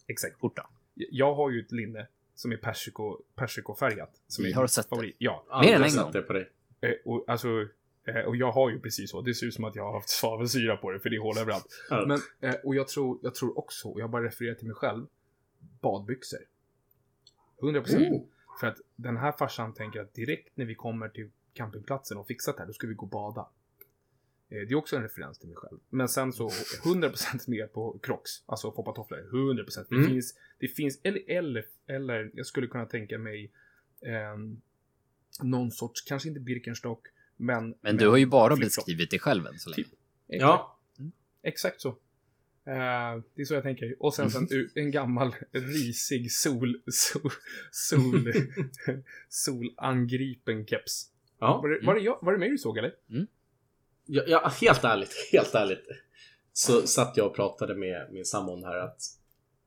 Speaker 2: Exakt.
Speaker 1: Skjorta.
Speaker 2: Jag har ju ett linne som är persiko, persikofärgat. Som
Speaker 1: Vi
Speaker 2: är
Speaker 1: har
Speaker 2: min
Speaker 1: sett det.
Speaker 2: favorit. Ja,
Speaker 1: Mer än
Speaker 3: Andra
Speaker 1: en
Speaker 3: satt
Speaker 1: gång.
Speaker 3: det på dig.
Speaker 2: Eh, och, alltså, eh, och jag har ju precis så. Det ser ut som att jag har haft svavelsyra på det, för det är hål överallt.
Speaker 3: Ja.
Speaker 2: Men, eh, och jag tror, jag tror också, och jag bara refererar till mig själv, badbyxor. 100%. procent.
Speaker 3: Oh.
Speaker 2: För att den här farsan tänker att direkt när vi kommer till campingplatsen och fixat det här, då ska vi gå och bada. Eh, Det är också en referens till mig själv. Men sen så 100% med på Crocs, alltså foppatofflor. 100%. Det
Speaker 3: Mm.
Speaker 2: finns, det finns eller, eller, eller jag skulle kunna tänka mig ehm, någon sorts, kanske inte Birkenstock, men...
Speaker 1: Men du har ju bara
Speaker 2: flip-flop.
Speaker 1: beskrivit dig själv än så länge.
Speaker 2: Typ.
Speaker 3: Ja.
Speaker 2: Exakt så. Eh, det är så jag tänker. Och sen, sen u- en gammal risig sol, sol,
Speaker 3: [LAUGHS]
Speaker 2: sol, solangripen keps.
Speaker 3: Ja.
Speaker 2: Var det, var, det jag, var det mig du såg eller?
Speaker 3: Ja, ja, helt ärligt, helt ärligt. Så satt jag och pratade med min sambo om det här att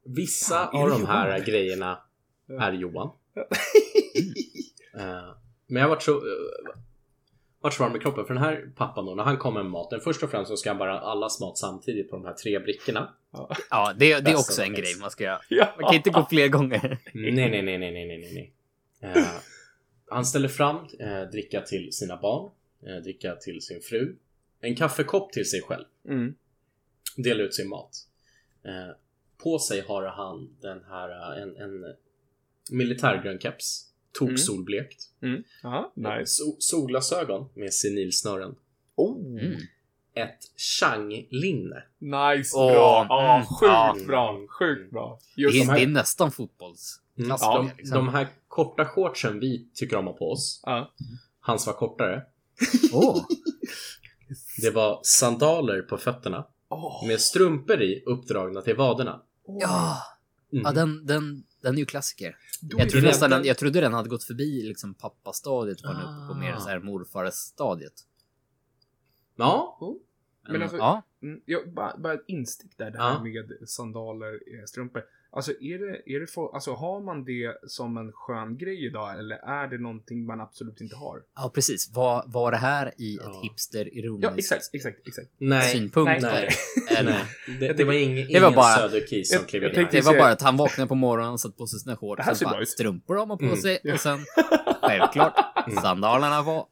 Speaker 3: vissa
Speaker 2: Fan, är
Speaker 3: av
Speaker 2: det
Speaker 3: de här
Speaker 2: Johan?
Speaker 3: grejerna
Speaker 2: Ja.
Speaker 3: är
Speaker 2: [LAUGHS]
Speaker 3: Johan. Eh, men jag vart så, eh, vart så varm i kroppen för den här pappan då, när han kommer med maten, först och främst så ska han bara allas mat samtidigt på de här tre brickorna.
Speaker 1: Ja, det, det är
Speaker 3: Bästa
Speaker 1: också en
Speaker 3: som
Speaker 1: grej
Speaker 3: finns.
Speaker 1: man ska göra.
Speaker 2: [LAUGHS] Ja.
Speaker 1: Man kan inte
Speaker 2: Ah.
Speaker 1: gå fler gånger.
Speaker 3: Nej,
Speaker 2: Mm.
Speaker 3: nej, nej, nej, nej, nej, nej, nej. Eh, han ställer fram eh, dricka till sina barn, eh, dricka till sin fru, en kaffekopp till sig själv.
Speaker 2: Mm.
Speaker 3: dela ut sin mat. Eh, på sig har han den här, eh, en, en militärgrön keps,
Speaker 2: Mm.
Speaker 3: tok solblekt,
Speaker 2: Mm. Aha, nice.
Speaker 3: so, solglasögon med senilsnören,
Speaker 2: Oh.
Speaker 1: Mm.
Speaker 3: ett Chang-linne.
Speaker 2: Nice,
Speaker 1: Åh,
Speaker 2: bra.
Speaker 1: mm,
Speaker 2: Ja, sjukt
Speaker 3: ja.
Speaker 2: bra. Sjukt bra. Just
Speaker 1: Det,
Speaker 3: de
Speaker 1: är,
Speaker 3: här-
Speaker 1: det är nästan fotbolls.
Speaker 2: Mm.
Speaker 3: Ja,
Speaker 1: Klassiker,
Speaker 3: Alltså, de,
Speaker 1: liksom.
Speaker 3: de här korta shortsen vi tycker om att ha på oss,
Speaker 2: Ja.
Speaker 3: hans var kortare.
Speaker 1: Åh.
Speaker 3: Det var sandaler på fötterna
Speaker 2: Åh.
Speaker 3: med strumpor i uppdragna till vaderna.
Speaker 1: Ja,
Speaker 3: Mm.
Speaker 1: ja den, den, den är ju klassiker.
Speaker 2: Då
Speaker 1: Jag
Speaker 2: är
Speaker 1: trodde,
Speaker 2: det-
Speaker 1: nästan den, jag trodde den hade gått förbi liksom pappastadiet och var nu uppe på mer
Speaker 3: Ah.
Speaker 1: så här morfarstadiet.
Speaker 3: Ja.
Speaker 2: Men alltså,
Speaker 1: Ja,
Speaker 2: Mm, jag, bara, bara ett instick där, det här
Speaker 3: Ja.
Speaker 2: med sandaler, eh, strumpor. Alltså, är det, är det för, alltså, har man det som en skön grej idag eller är det någonting man absolut inte har?
Speaker 1: ja precis. Var, var det här i ett
Speaker 3: Ja.
Speaker 2: Ja,
Speaker 1: hipster-ironiskt
Speaker 2: exakt, exakt, exakt.
Speaker 3: Nej.
Speaker 1: synpunkt?
Speaker 3: Nej. Eh,
Speaker 1: eller?
Speaker 3: Nej. Det, det var ingen,
Speaker 1: Det var
Speaker 3: ingen
Speaker 1: bara-
Speaker 3: söderkis som
Speaker 2: jag-
Speaker 3: klev
Speaker 2: jag
Speaker 3: in
Speaker 2: tänkte-
Speaker 3: här.
Speaker 1: Det var bara att han vaknade på morgonen, satte på sig sina
Speaker 2: Det
Speaker 1: shorts,
Speaker 2: här
Speaker 1: sen
Speaker 2: ser bra
Speaker 1: bara
Speaker 2: ut.
Speaker 1: strumpor har man på
Speaker 3: Mm.
Speaker 1: sig
Speaker 2: Ja.
Speaker 1: och sen självklart
Speaker 2: [LAUGHS]
Speaker 3: Mm.
Speaker 1: sandalerna var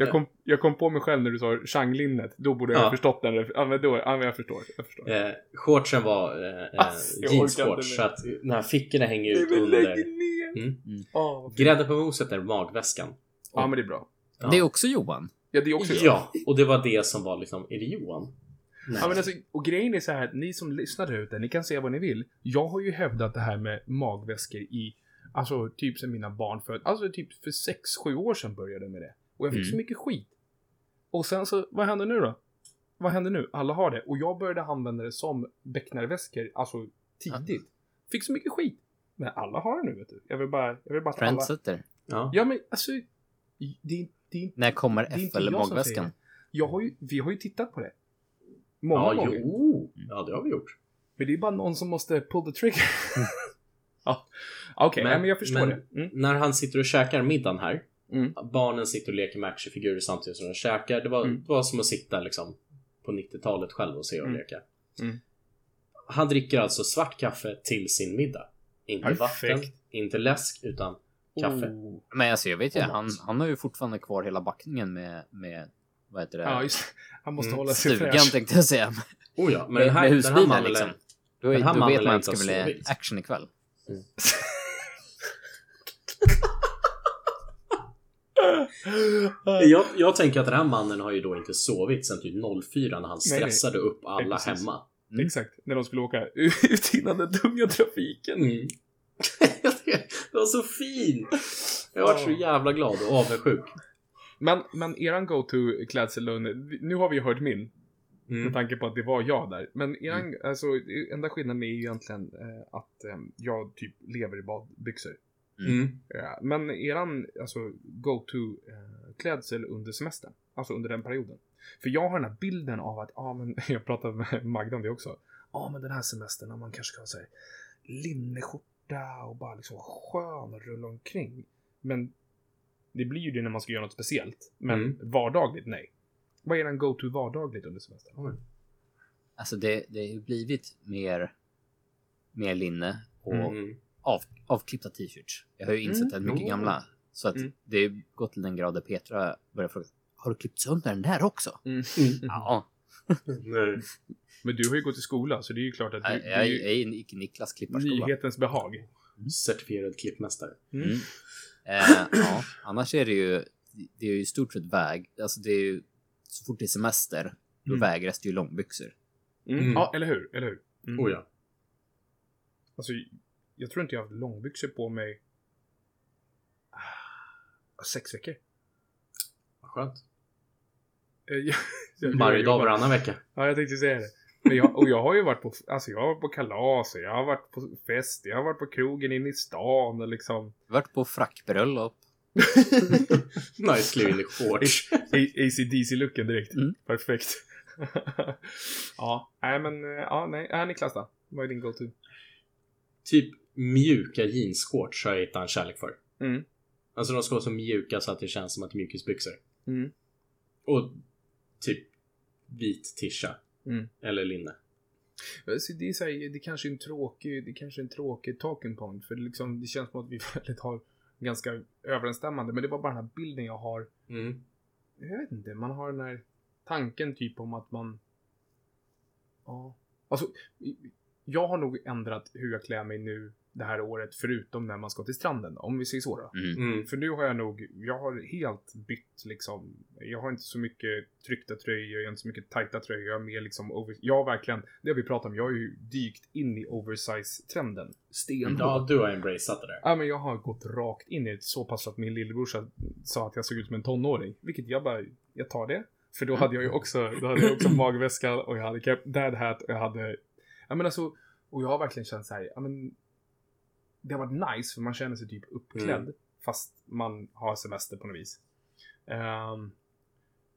Speaker 2: Jag kom, jag kom på mig själv när du sa Changlinnet. Då borde jag
Speaker 3: Ja.
Speaker 2: ha förstått den. ref- Ja, men då, ja, men jag förstår. Jag förstår.
Speaker 3: Eh, shortsen var eh,
Speaker 2: [LAUGHS]
Speaker 3: eh,
Speaker 2: Ass, Alltså, jag orkar inte
Speaker 3: jeansshorts
Speaker 2: mer.
Speaker 3: så att den här fickorna hänger
Speaker 2: Nej,
Speaker 3: ut
Speaker 2: men lägg
Speaker 3: under.
Speaker 2: ner!
Speaker 3: Mm.
Speaker 2: Ja, vad fint.
Speaker 3: Grädden på moset är magväskan.
Speaker 2: ja, men det är bra.
Speaker 3: Ja.
Speaker 1: Det är också Johan.
Speaker 2: Ja, det är också
Speaker 3: ja, och det var det som var liksom, är det Johan? Nej.
Speaker 2: Ja, men alltså, och grejen är så här, ni som lyssnar där ute, ni kan säga vad ni vill. Jag har ju hävdat det här med magväskor i, alltså typ sen mina barn föddes, alltså typ för 6-7 år sedan började jag med det. Och jag fick
Speaker 1: Mm.
Speaker 2: så mycket skit. Och sen så, vad händer nu då? Vad händer nu? Alla har det. Och jag började använda det som becknarväskor, alltså tidigt. Fick så mycket skit. Men alla har det nu, vet du. Jag vill bara, jag vill bara att alla...
Speaker 1: Trendsetter.
Speaker 3: ja.
Speaker 2: Ja, men alltså, det är, det är inte
Speaker 1: När kommer
Speaker 2: Det är inte jag som säger
Speaker 1: FL-magväskan?
Speaker 2: det. jag har ju, vi har ju tittat på det. Många
Speaker 3: ja,
Speaker 2: gånger.
Speaker 3: jo. Oh. Ja, det har vi gjort.
Speaker 2: Men det är bara någon som måste pull the trigger. [LAUGHS] ja. Okej,
Speaker 3: Mm. Men-
Speaker 2: men, men jag förstår
Speaker 3: men-
Speaker 2: det. Mm.
Speaker 3: När han sitter och käkar middagen här.
Speaker 2: Mm.
Speaker 3: Barnen sitter och leker med actionfigurer samtidigt som de käkar. Det var,
Speaker 2: Mm.
Speaker 3: det var som att sitta liksom på 90-talet själv och se och
Speaker 2: Mm.
Speaker 3: leka.
Speaker 2: Mm.
Speaker 3: Han dricker alltså svart kaffe till sin middag. Inte vatten,
Speaker 2: Perfekt.
Speaker 3: inte läsk, utan kaffe.
Speaker 2: Oh.
Speaker 1: Men alltså jag vet ju,
Speaker 3: Och mat.
Speaker 1: han, han har ju fortfarande kvar hela backningen med, med vad heter det?
Speaker 2: Ja, just det. Han måste
Speaker 3: Mm.
Speaker 2: hålla sig
Speaker 1: Stugan
Speaker 2: fräsch.
Speaker 1: tänkte jag säga.
Speaker 3: Oh ja, men
Speaker 1: Med-
Speaker 3: den här,
Speaker 1: med
Speaker 3: den här
Speaker 1: husbilen,
Speaker 3: mannen
Speaker 1: liksom.
Speaker 3: lär-
Speaker 1: Då,
Speaker 3: Den här
Speaker 1: är, då
Speaker 3: mannen
Speaker 1: vet
Speaker 3: lär
Speaker 1: man att
Speaker 3: inte
Speaker 1: det ska
Speaker 3: ha
Speaker 1: bli
Speaker 3: sovit.
Speaker 1: action ikväll.
Speaker 2: [GASPS]
Speaker 3: jag, jag tänker att den här mannen har ju då inte sovit sen typ 04 när han
Speaker 2: Nej, nej.
Speaker 3: stressade upp alla
Speaker 2: precis.
Speaker 3: hemma.
Speaker 1: Mm.
Speaker 2: Exakt, när de skulle åka [LAUGHS] ut innan den tunga
Speaker 3: [LAUGHS]
Speaker 2: trafiken.
Speaker 3: det var så fint! Jag var så
Speaker 2: Ja.
Speaker 3: jävla glad och avundsjuk.
Speaker 2: Men, men eran go-to-klädsel, Lund, nu har vi hört min.
Speaker 3: Mm.
Speaker 2: Med tanke på att det var jag där. Men eran, alltså, enda skillnaden är ju egentligen eh, att eh, jag typ lever i badbyxor.
Speaker 3: Mm.
Speaker 2: Ja, men eran alltså, go-to-klädsel under semestern, alltså under den perioden. För jag har den här bilden av att, ja men, [LAUGHS] jag pratade med Magda om det också. Ja men den här semestern, ja, man kanske kan säga linneskjorta och bara liksom skön och rulla omkring. Men det blir ju det när man ska göra något speciellt. Men
Speaker 3: Mm.
Speaker 2: vardagligt, nej. Vad är den go-to vardagligt under semestern?
Speaker 1: Alltså det, det har ju blivit mer, mer linne och
Speaker 3: Mm.
Speaker 1: av, avklippta t-shirts. Jag har ju insett att mycket
Speaker 3: Oh.
Speaker 1: gamla. Så att
Speaker 2: Mm.
Speaker 1: det har gått till den grad där Petra börjar fråga. Har du klippt sönder den där
Speaker 2: Mm.
Speaker 1: också? Ja,
Speaker 3: Nej.
Speaker 2: [LAUGHS] Men du har ju gått i skola, så det är ju klart att du,
Speaker 1: jag,
Speaker 2: det är
Speaker 1: jag, jag
Speaker 2: ju
Speaker 1: är en icke-Niklas klipparskola.
Speaker 2: nyhetens behag.
Speaker 3: Certifierad klippmästare.
Speaker 2: Mm.
Speaker 1: Mm. Eh,
Speaker 2: [CLEARS THROAT]
Speaker 1: ja, annars är det ju, det är ju i stort sett väg. Alltså det är ju, så fort det är semester, då
Speaker 2: Mm.
Speaker 1: vägras det ju långbyxor.
Speaker 2: Mm.
Speaker 3: Mm.
Speaker 2: Ja, eller hur? Eller hur? Mm.
Speaker 3: Oh ja.
Speaker 2: Alltså, jag tror inte jag har haft långbyxor på mig ah, sex veckor. [LAUGHS]
Speaker 3: Vad skönt.
Speaker 2: Eh, jag- jag- jag-
Speaker 3: Varje
Speaker 2: jag-
Speaker 3: dag, varannan vecka.
Speaker 2: Ja, jag tänkte säga det. Men jag, och jag har ju varit på, alltså jag har varit på kalas, och jag har varit på fest, jag har varit på krogen inne i stan och liksom.
Speaker 1: Vart på frackbröllop.
Speaker 3: Nicely in the shorts.
Speaker 2: ACDC-looken direkt.
Speaker 1: Mm.
Speaker 2: Perfekt. [LAUGHS] ja, nej men, eh, ja, nej, äh, Niklas då? Vad är din go-to?
Speaker 3: typ mjuka jeansshorts har jag hittat en kärlek för.
Speaker 2: Mm.
Speaker 3: Alltså de ska vara så mjuka så att det känns som att det är mjukisbyxor.
Speaker 2: Mm.
Speaker 3: Och typ vit tisha.
Speaker 2: Mm.
Speaker 3: Eller linne.
Speaker 2: Så Alltså, det är så här, det kanske är en tråkig, det kanske är en tråkig talking point. För det, liksom, det känns som att vi [LAUGHS] väldigt har ganska överensstämmande. Men det var bara den här bilden jag har.
Speaker 3: Mm.
Speaker 2: Jag vet inte, man har den här tanken typ om att man... Ja. Alltså, jag har nog ändrat hur jag klär mig nu det här året. Förutom när man ska till stranden, om vi säger så då.
Speaker 1: Mm.
Speaker 3: Mm.
Speaker 2: För nu har jag nog, jag har helt bytt liksom. Jag har inte så mycket tryckta tröjor, jag har inte så mycket tajta tröjor. Jag har mer liksom, over, jag har verkligen, det har vi pratat om, jag har ju dykt in i oversize-trenden. Stenhårt.
Speaker 3: Ja, du har embraceat det där.
Speaker 2: Ja, men jag har gått rakt in i det så pass att min lillebrorsa sa att jag såg ut som en tonåring. Vilket jag bara, jag tar det. För då hade jag
Speaker 1: Mm.
Speaker 2: ju också, då hade
Speaker 1: [CLEARS THROAT]
Speaker 2: jag också magväska och jag hade cap, dad hat och jag hade, ja men alltså, och jag har verkligen känt så här, ja men, det har varit nice för man känner sig typ uppklädd
Speaker 1: Mm.
Speaker 2: fast man har semester på något vis. Ehm,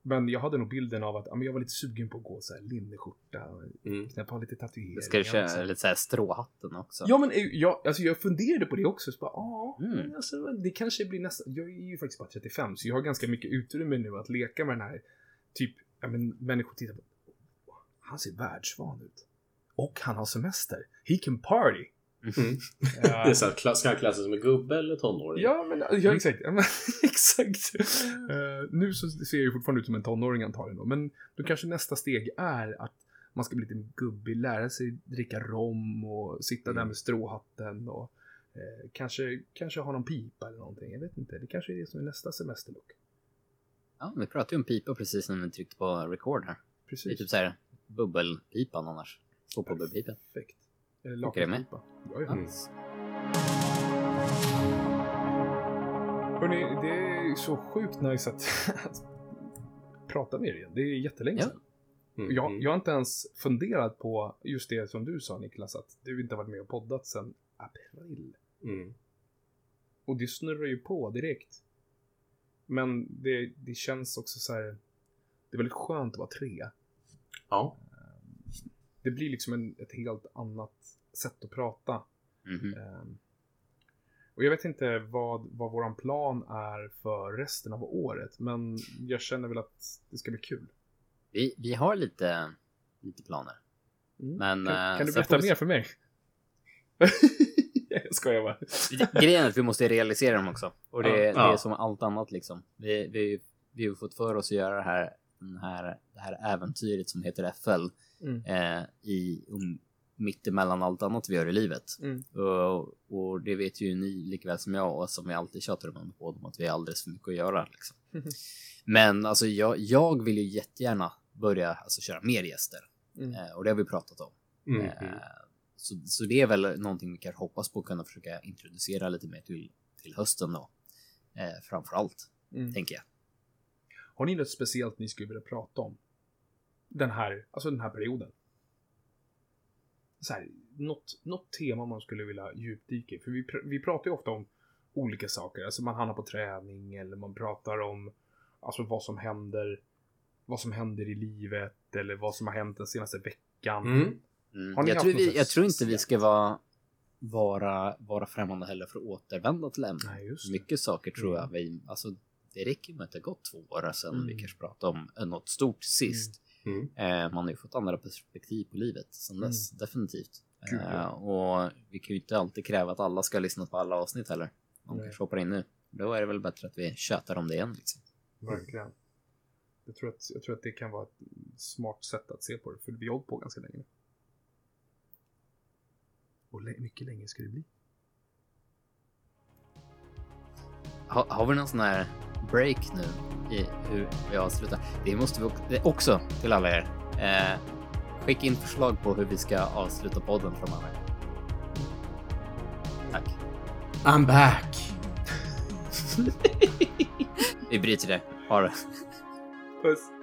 Speaker 2: men jag hade nog bilden av att ja, men jag var lite sugen på att gå så här linneskjorta,
Speaker 3: Mm.
Speaker 2: knäppa lite tatueringar.
Speaker 1: Ska du köra
Speaker 2: så.
Speaker 1: lite såhär stråhatten också?
Speaker 2: Ja, men eh, jag, alltså, jag funderade på det också. Så bara, ah,
Speaker 1: Mm.
Speaker 2: men alltså, det kanske blir nästa... Jag är ju faktiskt bara 35, så jag har ganska mycket utrymme nu att leka med den här... Typ, ja men människor tittar på... "Åh, Han ser världsvan ut. Och han har semester. He can party.
Speaker 3: Mm.
Speaker 2: Eh,
Speaker 3: [LAUGHS] Det är så här, kla- ska han klassa sig som en gubbe eller tonåring?
Speaker 2: ja, men
Speaker 1: Mm.
Speaker 2: ja, exakt. Ja, men, [LAUGHS] exakt. Eh, nu så ser jag ju fortfarande ut som en tonåring antagligen då, men då kanske nästa steg är att man ska bli lite gubbig, lära sig dricka rom och sitta där
Speaker 3: Mm.
Speaker 2: med stråhatten och eh, kanske, kanske ha någon pipa eller någonting. Jag vet inte, det kanske är det som är nästa semesterlook.
Speaker 1: Ja, vi pratade ju om pipa precis när vi tryckte på record här. Det är
Speaker 2: Precis.
Speaker 1: typ såhär bubbelpipan annars. Fotbollsbubbelpipan.
Speaker 2: Perfekt. Eller
Speaker 1: Okej, men-
Speaker 2: lakanspipa. Ja, ja.
Speaker 3: Mm.
Speaker 2: Hörrni, det är så sjukt nice att, [LAUGHS] att prata med er igen. Det är jättelänge
Speaker 1: Ja.
Speaker 2: sedan.
Speaker 3: Mm.
Speaker 2: Jag, jag har inte ens funderat på just det som du sa Niklas, att du inte har varit med och poddat sedan april.
Speaker 3: Mm.
Speaker 2: Och det snurrar ju på direkt. Men det, det känns också så här. Det är väldigt skönt att vara tre.
Speaker 3: Ja.
Speaker 2: Det blir liksom en, ett helt annat sätt att prata.
Speaker 1: Mhm.
Speaker 2: Ehm, Och jag vet inte vad, vad våran plan är för resten av året, men jag känner väl att det ska bli kul.
Speaker 1: Vi, vi har lite, lite planer.
Speaker 2: Mm.
Speaker 1: Men,
Speaker 2: kan,
Speaker 1: eh,
Speaker 2: kan du
Speaker 1: sen
Speaker 2: berätta
Speaker 1: får vi-
Speaker 2: mer för mig? jag skojar bara.
Speaker 1: Grejen är att vi måste realisera dem också. Och det,
Speaker 3: Ja.
Speaker 1: det
Speaker 3: Ja.
Speaker 1: är som allt annat liksom. Vi, vi, vi har fått för oss att göra det här, den här, det här äventyret som heter FL
Speaker 2: Mm.
Speaker 1: eh, i um, mitt emellan allt annat vi gör i livet.
Speaker 2: Mm.
Speaker 1: Och, och det vet ju ni likaväl som jag och som vi alltid tjatar om på om att vi har alldeles för mycket att göra.
Speaker 2: [LAUGHS]
Speaker 1: Liksom. Men alltså, jag, jag vill ju jättegärna börja alltså, köra mer gäster
Speaker 2: Mm.
Speaker 1: eh, och det har vi pratat om.
Speaker 3: Mm.
Speaker 1: Eh, så, så det är väl någonting vi kan hoppas på att kunna försöka introducera lite mer till, till hösten då. Eh, framför allt,
Speaker 2: Mm.
Speaker 1: tänker jag.
Speaker 2: Har ni något speciellt ni skulle vilja prata om? Den här, alltså den här perioden. Så här, något, något tema man skulle vilja djupdyka i. För vi, pr- vi pratar ju ofta om olika saker. Alltså man hamnar på träning eller man pratar om alltså vad som händer. Vad som händer i livet eller vad som har hänt den senaste veckan.
Speaker 3: Mm.
Speaker 2: Har
Speaker 1: Mm.
Speaker 2: ni
Speaker 1: Jag,
Speaker 2: haft
Speaker 1: tror
Speaker 2: något
Speaker 1: vi,
Speaker 2: slags
Speaker 1: jag tror inte vi
Speaker 2: speciellt?
Speaker 1: ska vara, vara, vara främmande heller för att återvända till ämnet.
Speaker 2: Nej, just det.
Speaker 1: Mycket saker tror
Speaker 2: Mm.
Speaker 1: jag vi, alltså det räcker med att det har gått två år sedan
Speaker 2: Mm.
Speaker 1: vi kanske pratade om eh, något stort sist.
Speaker 3: Mm.
Speaker 1: Eh, man har ju fått andra perspektiv på livet sedan dess, definitivt.
Speaker 2: Mm. Gud, ja.
Speaker 1: Eh, och vi kan ju inte alltid kräva att alla ska lyssna på alla avsnitt heller. Man
Speaker 2: Nej.
Speaker 1: kanske hoppar in nu. Då är det väl bättre att vi tjötar om det igen. Liksom.
Speaker 2: Verkligen. Jag tror, att, jag tror att det kan vara ett smart sätt att se på det, för vi har hållit på ganska länge. Och lä- mycket längre ska det bli.
Speaker 1: Ha, har vi någon sån här break nu i hur vi avslutar? Det måste vi också- det- också till alla er. Eh, skicka in förslag på hur vi ska avsluta podden framöver. Tack.
Speaker 3: I'm back!
Speaker 1: Vi bryter det. Ha det.
Speaker 2: Puss!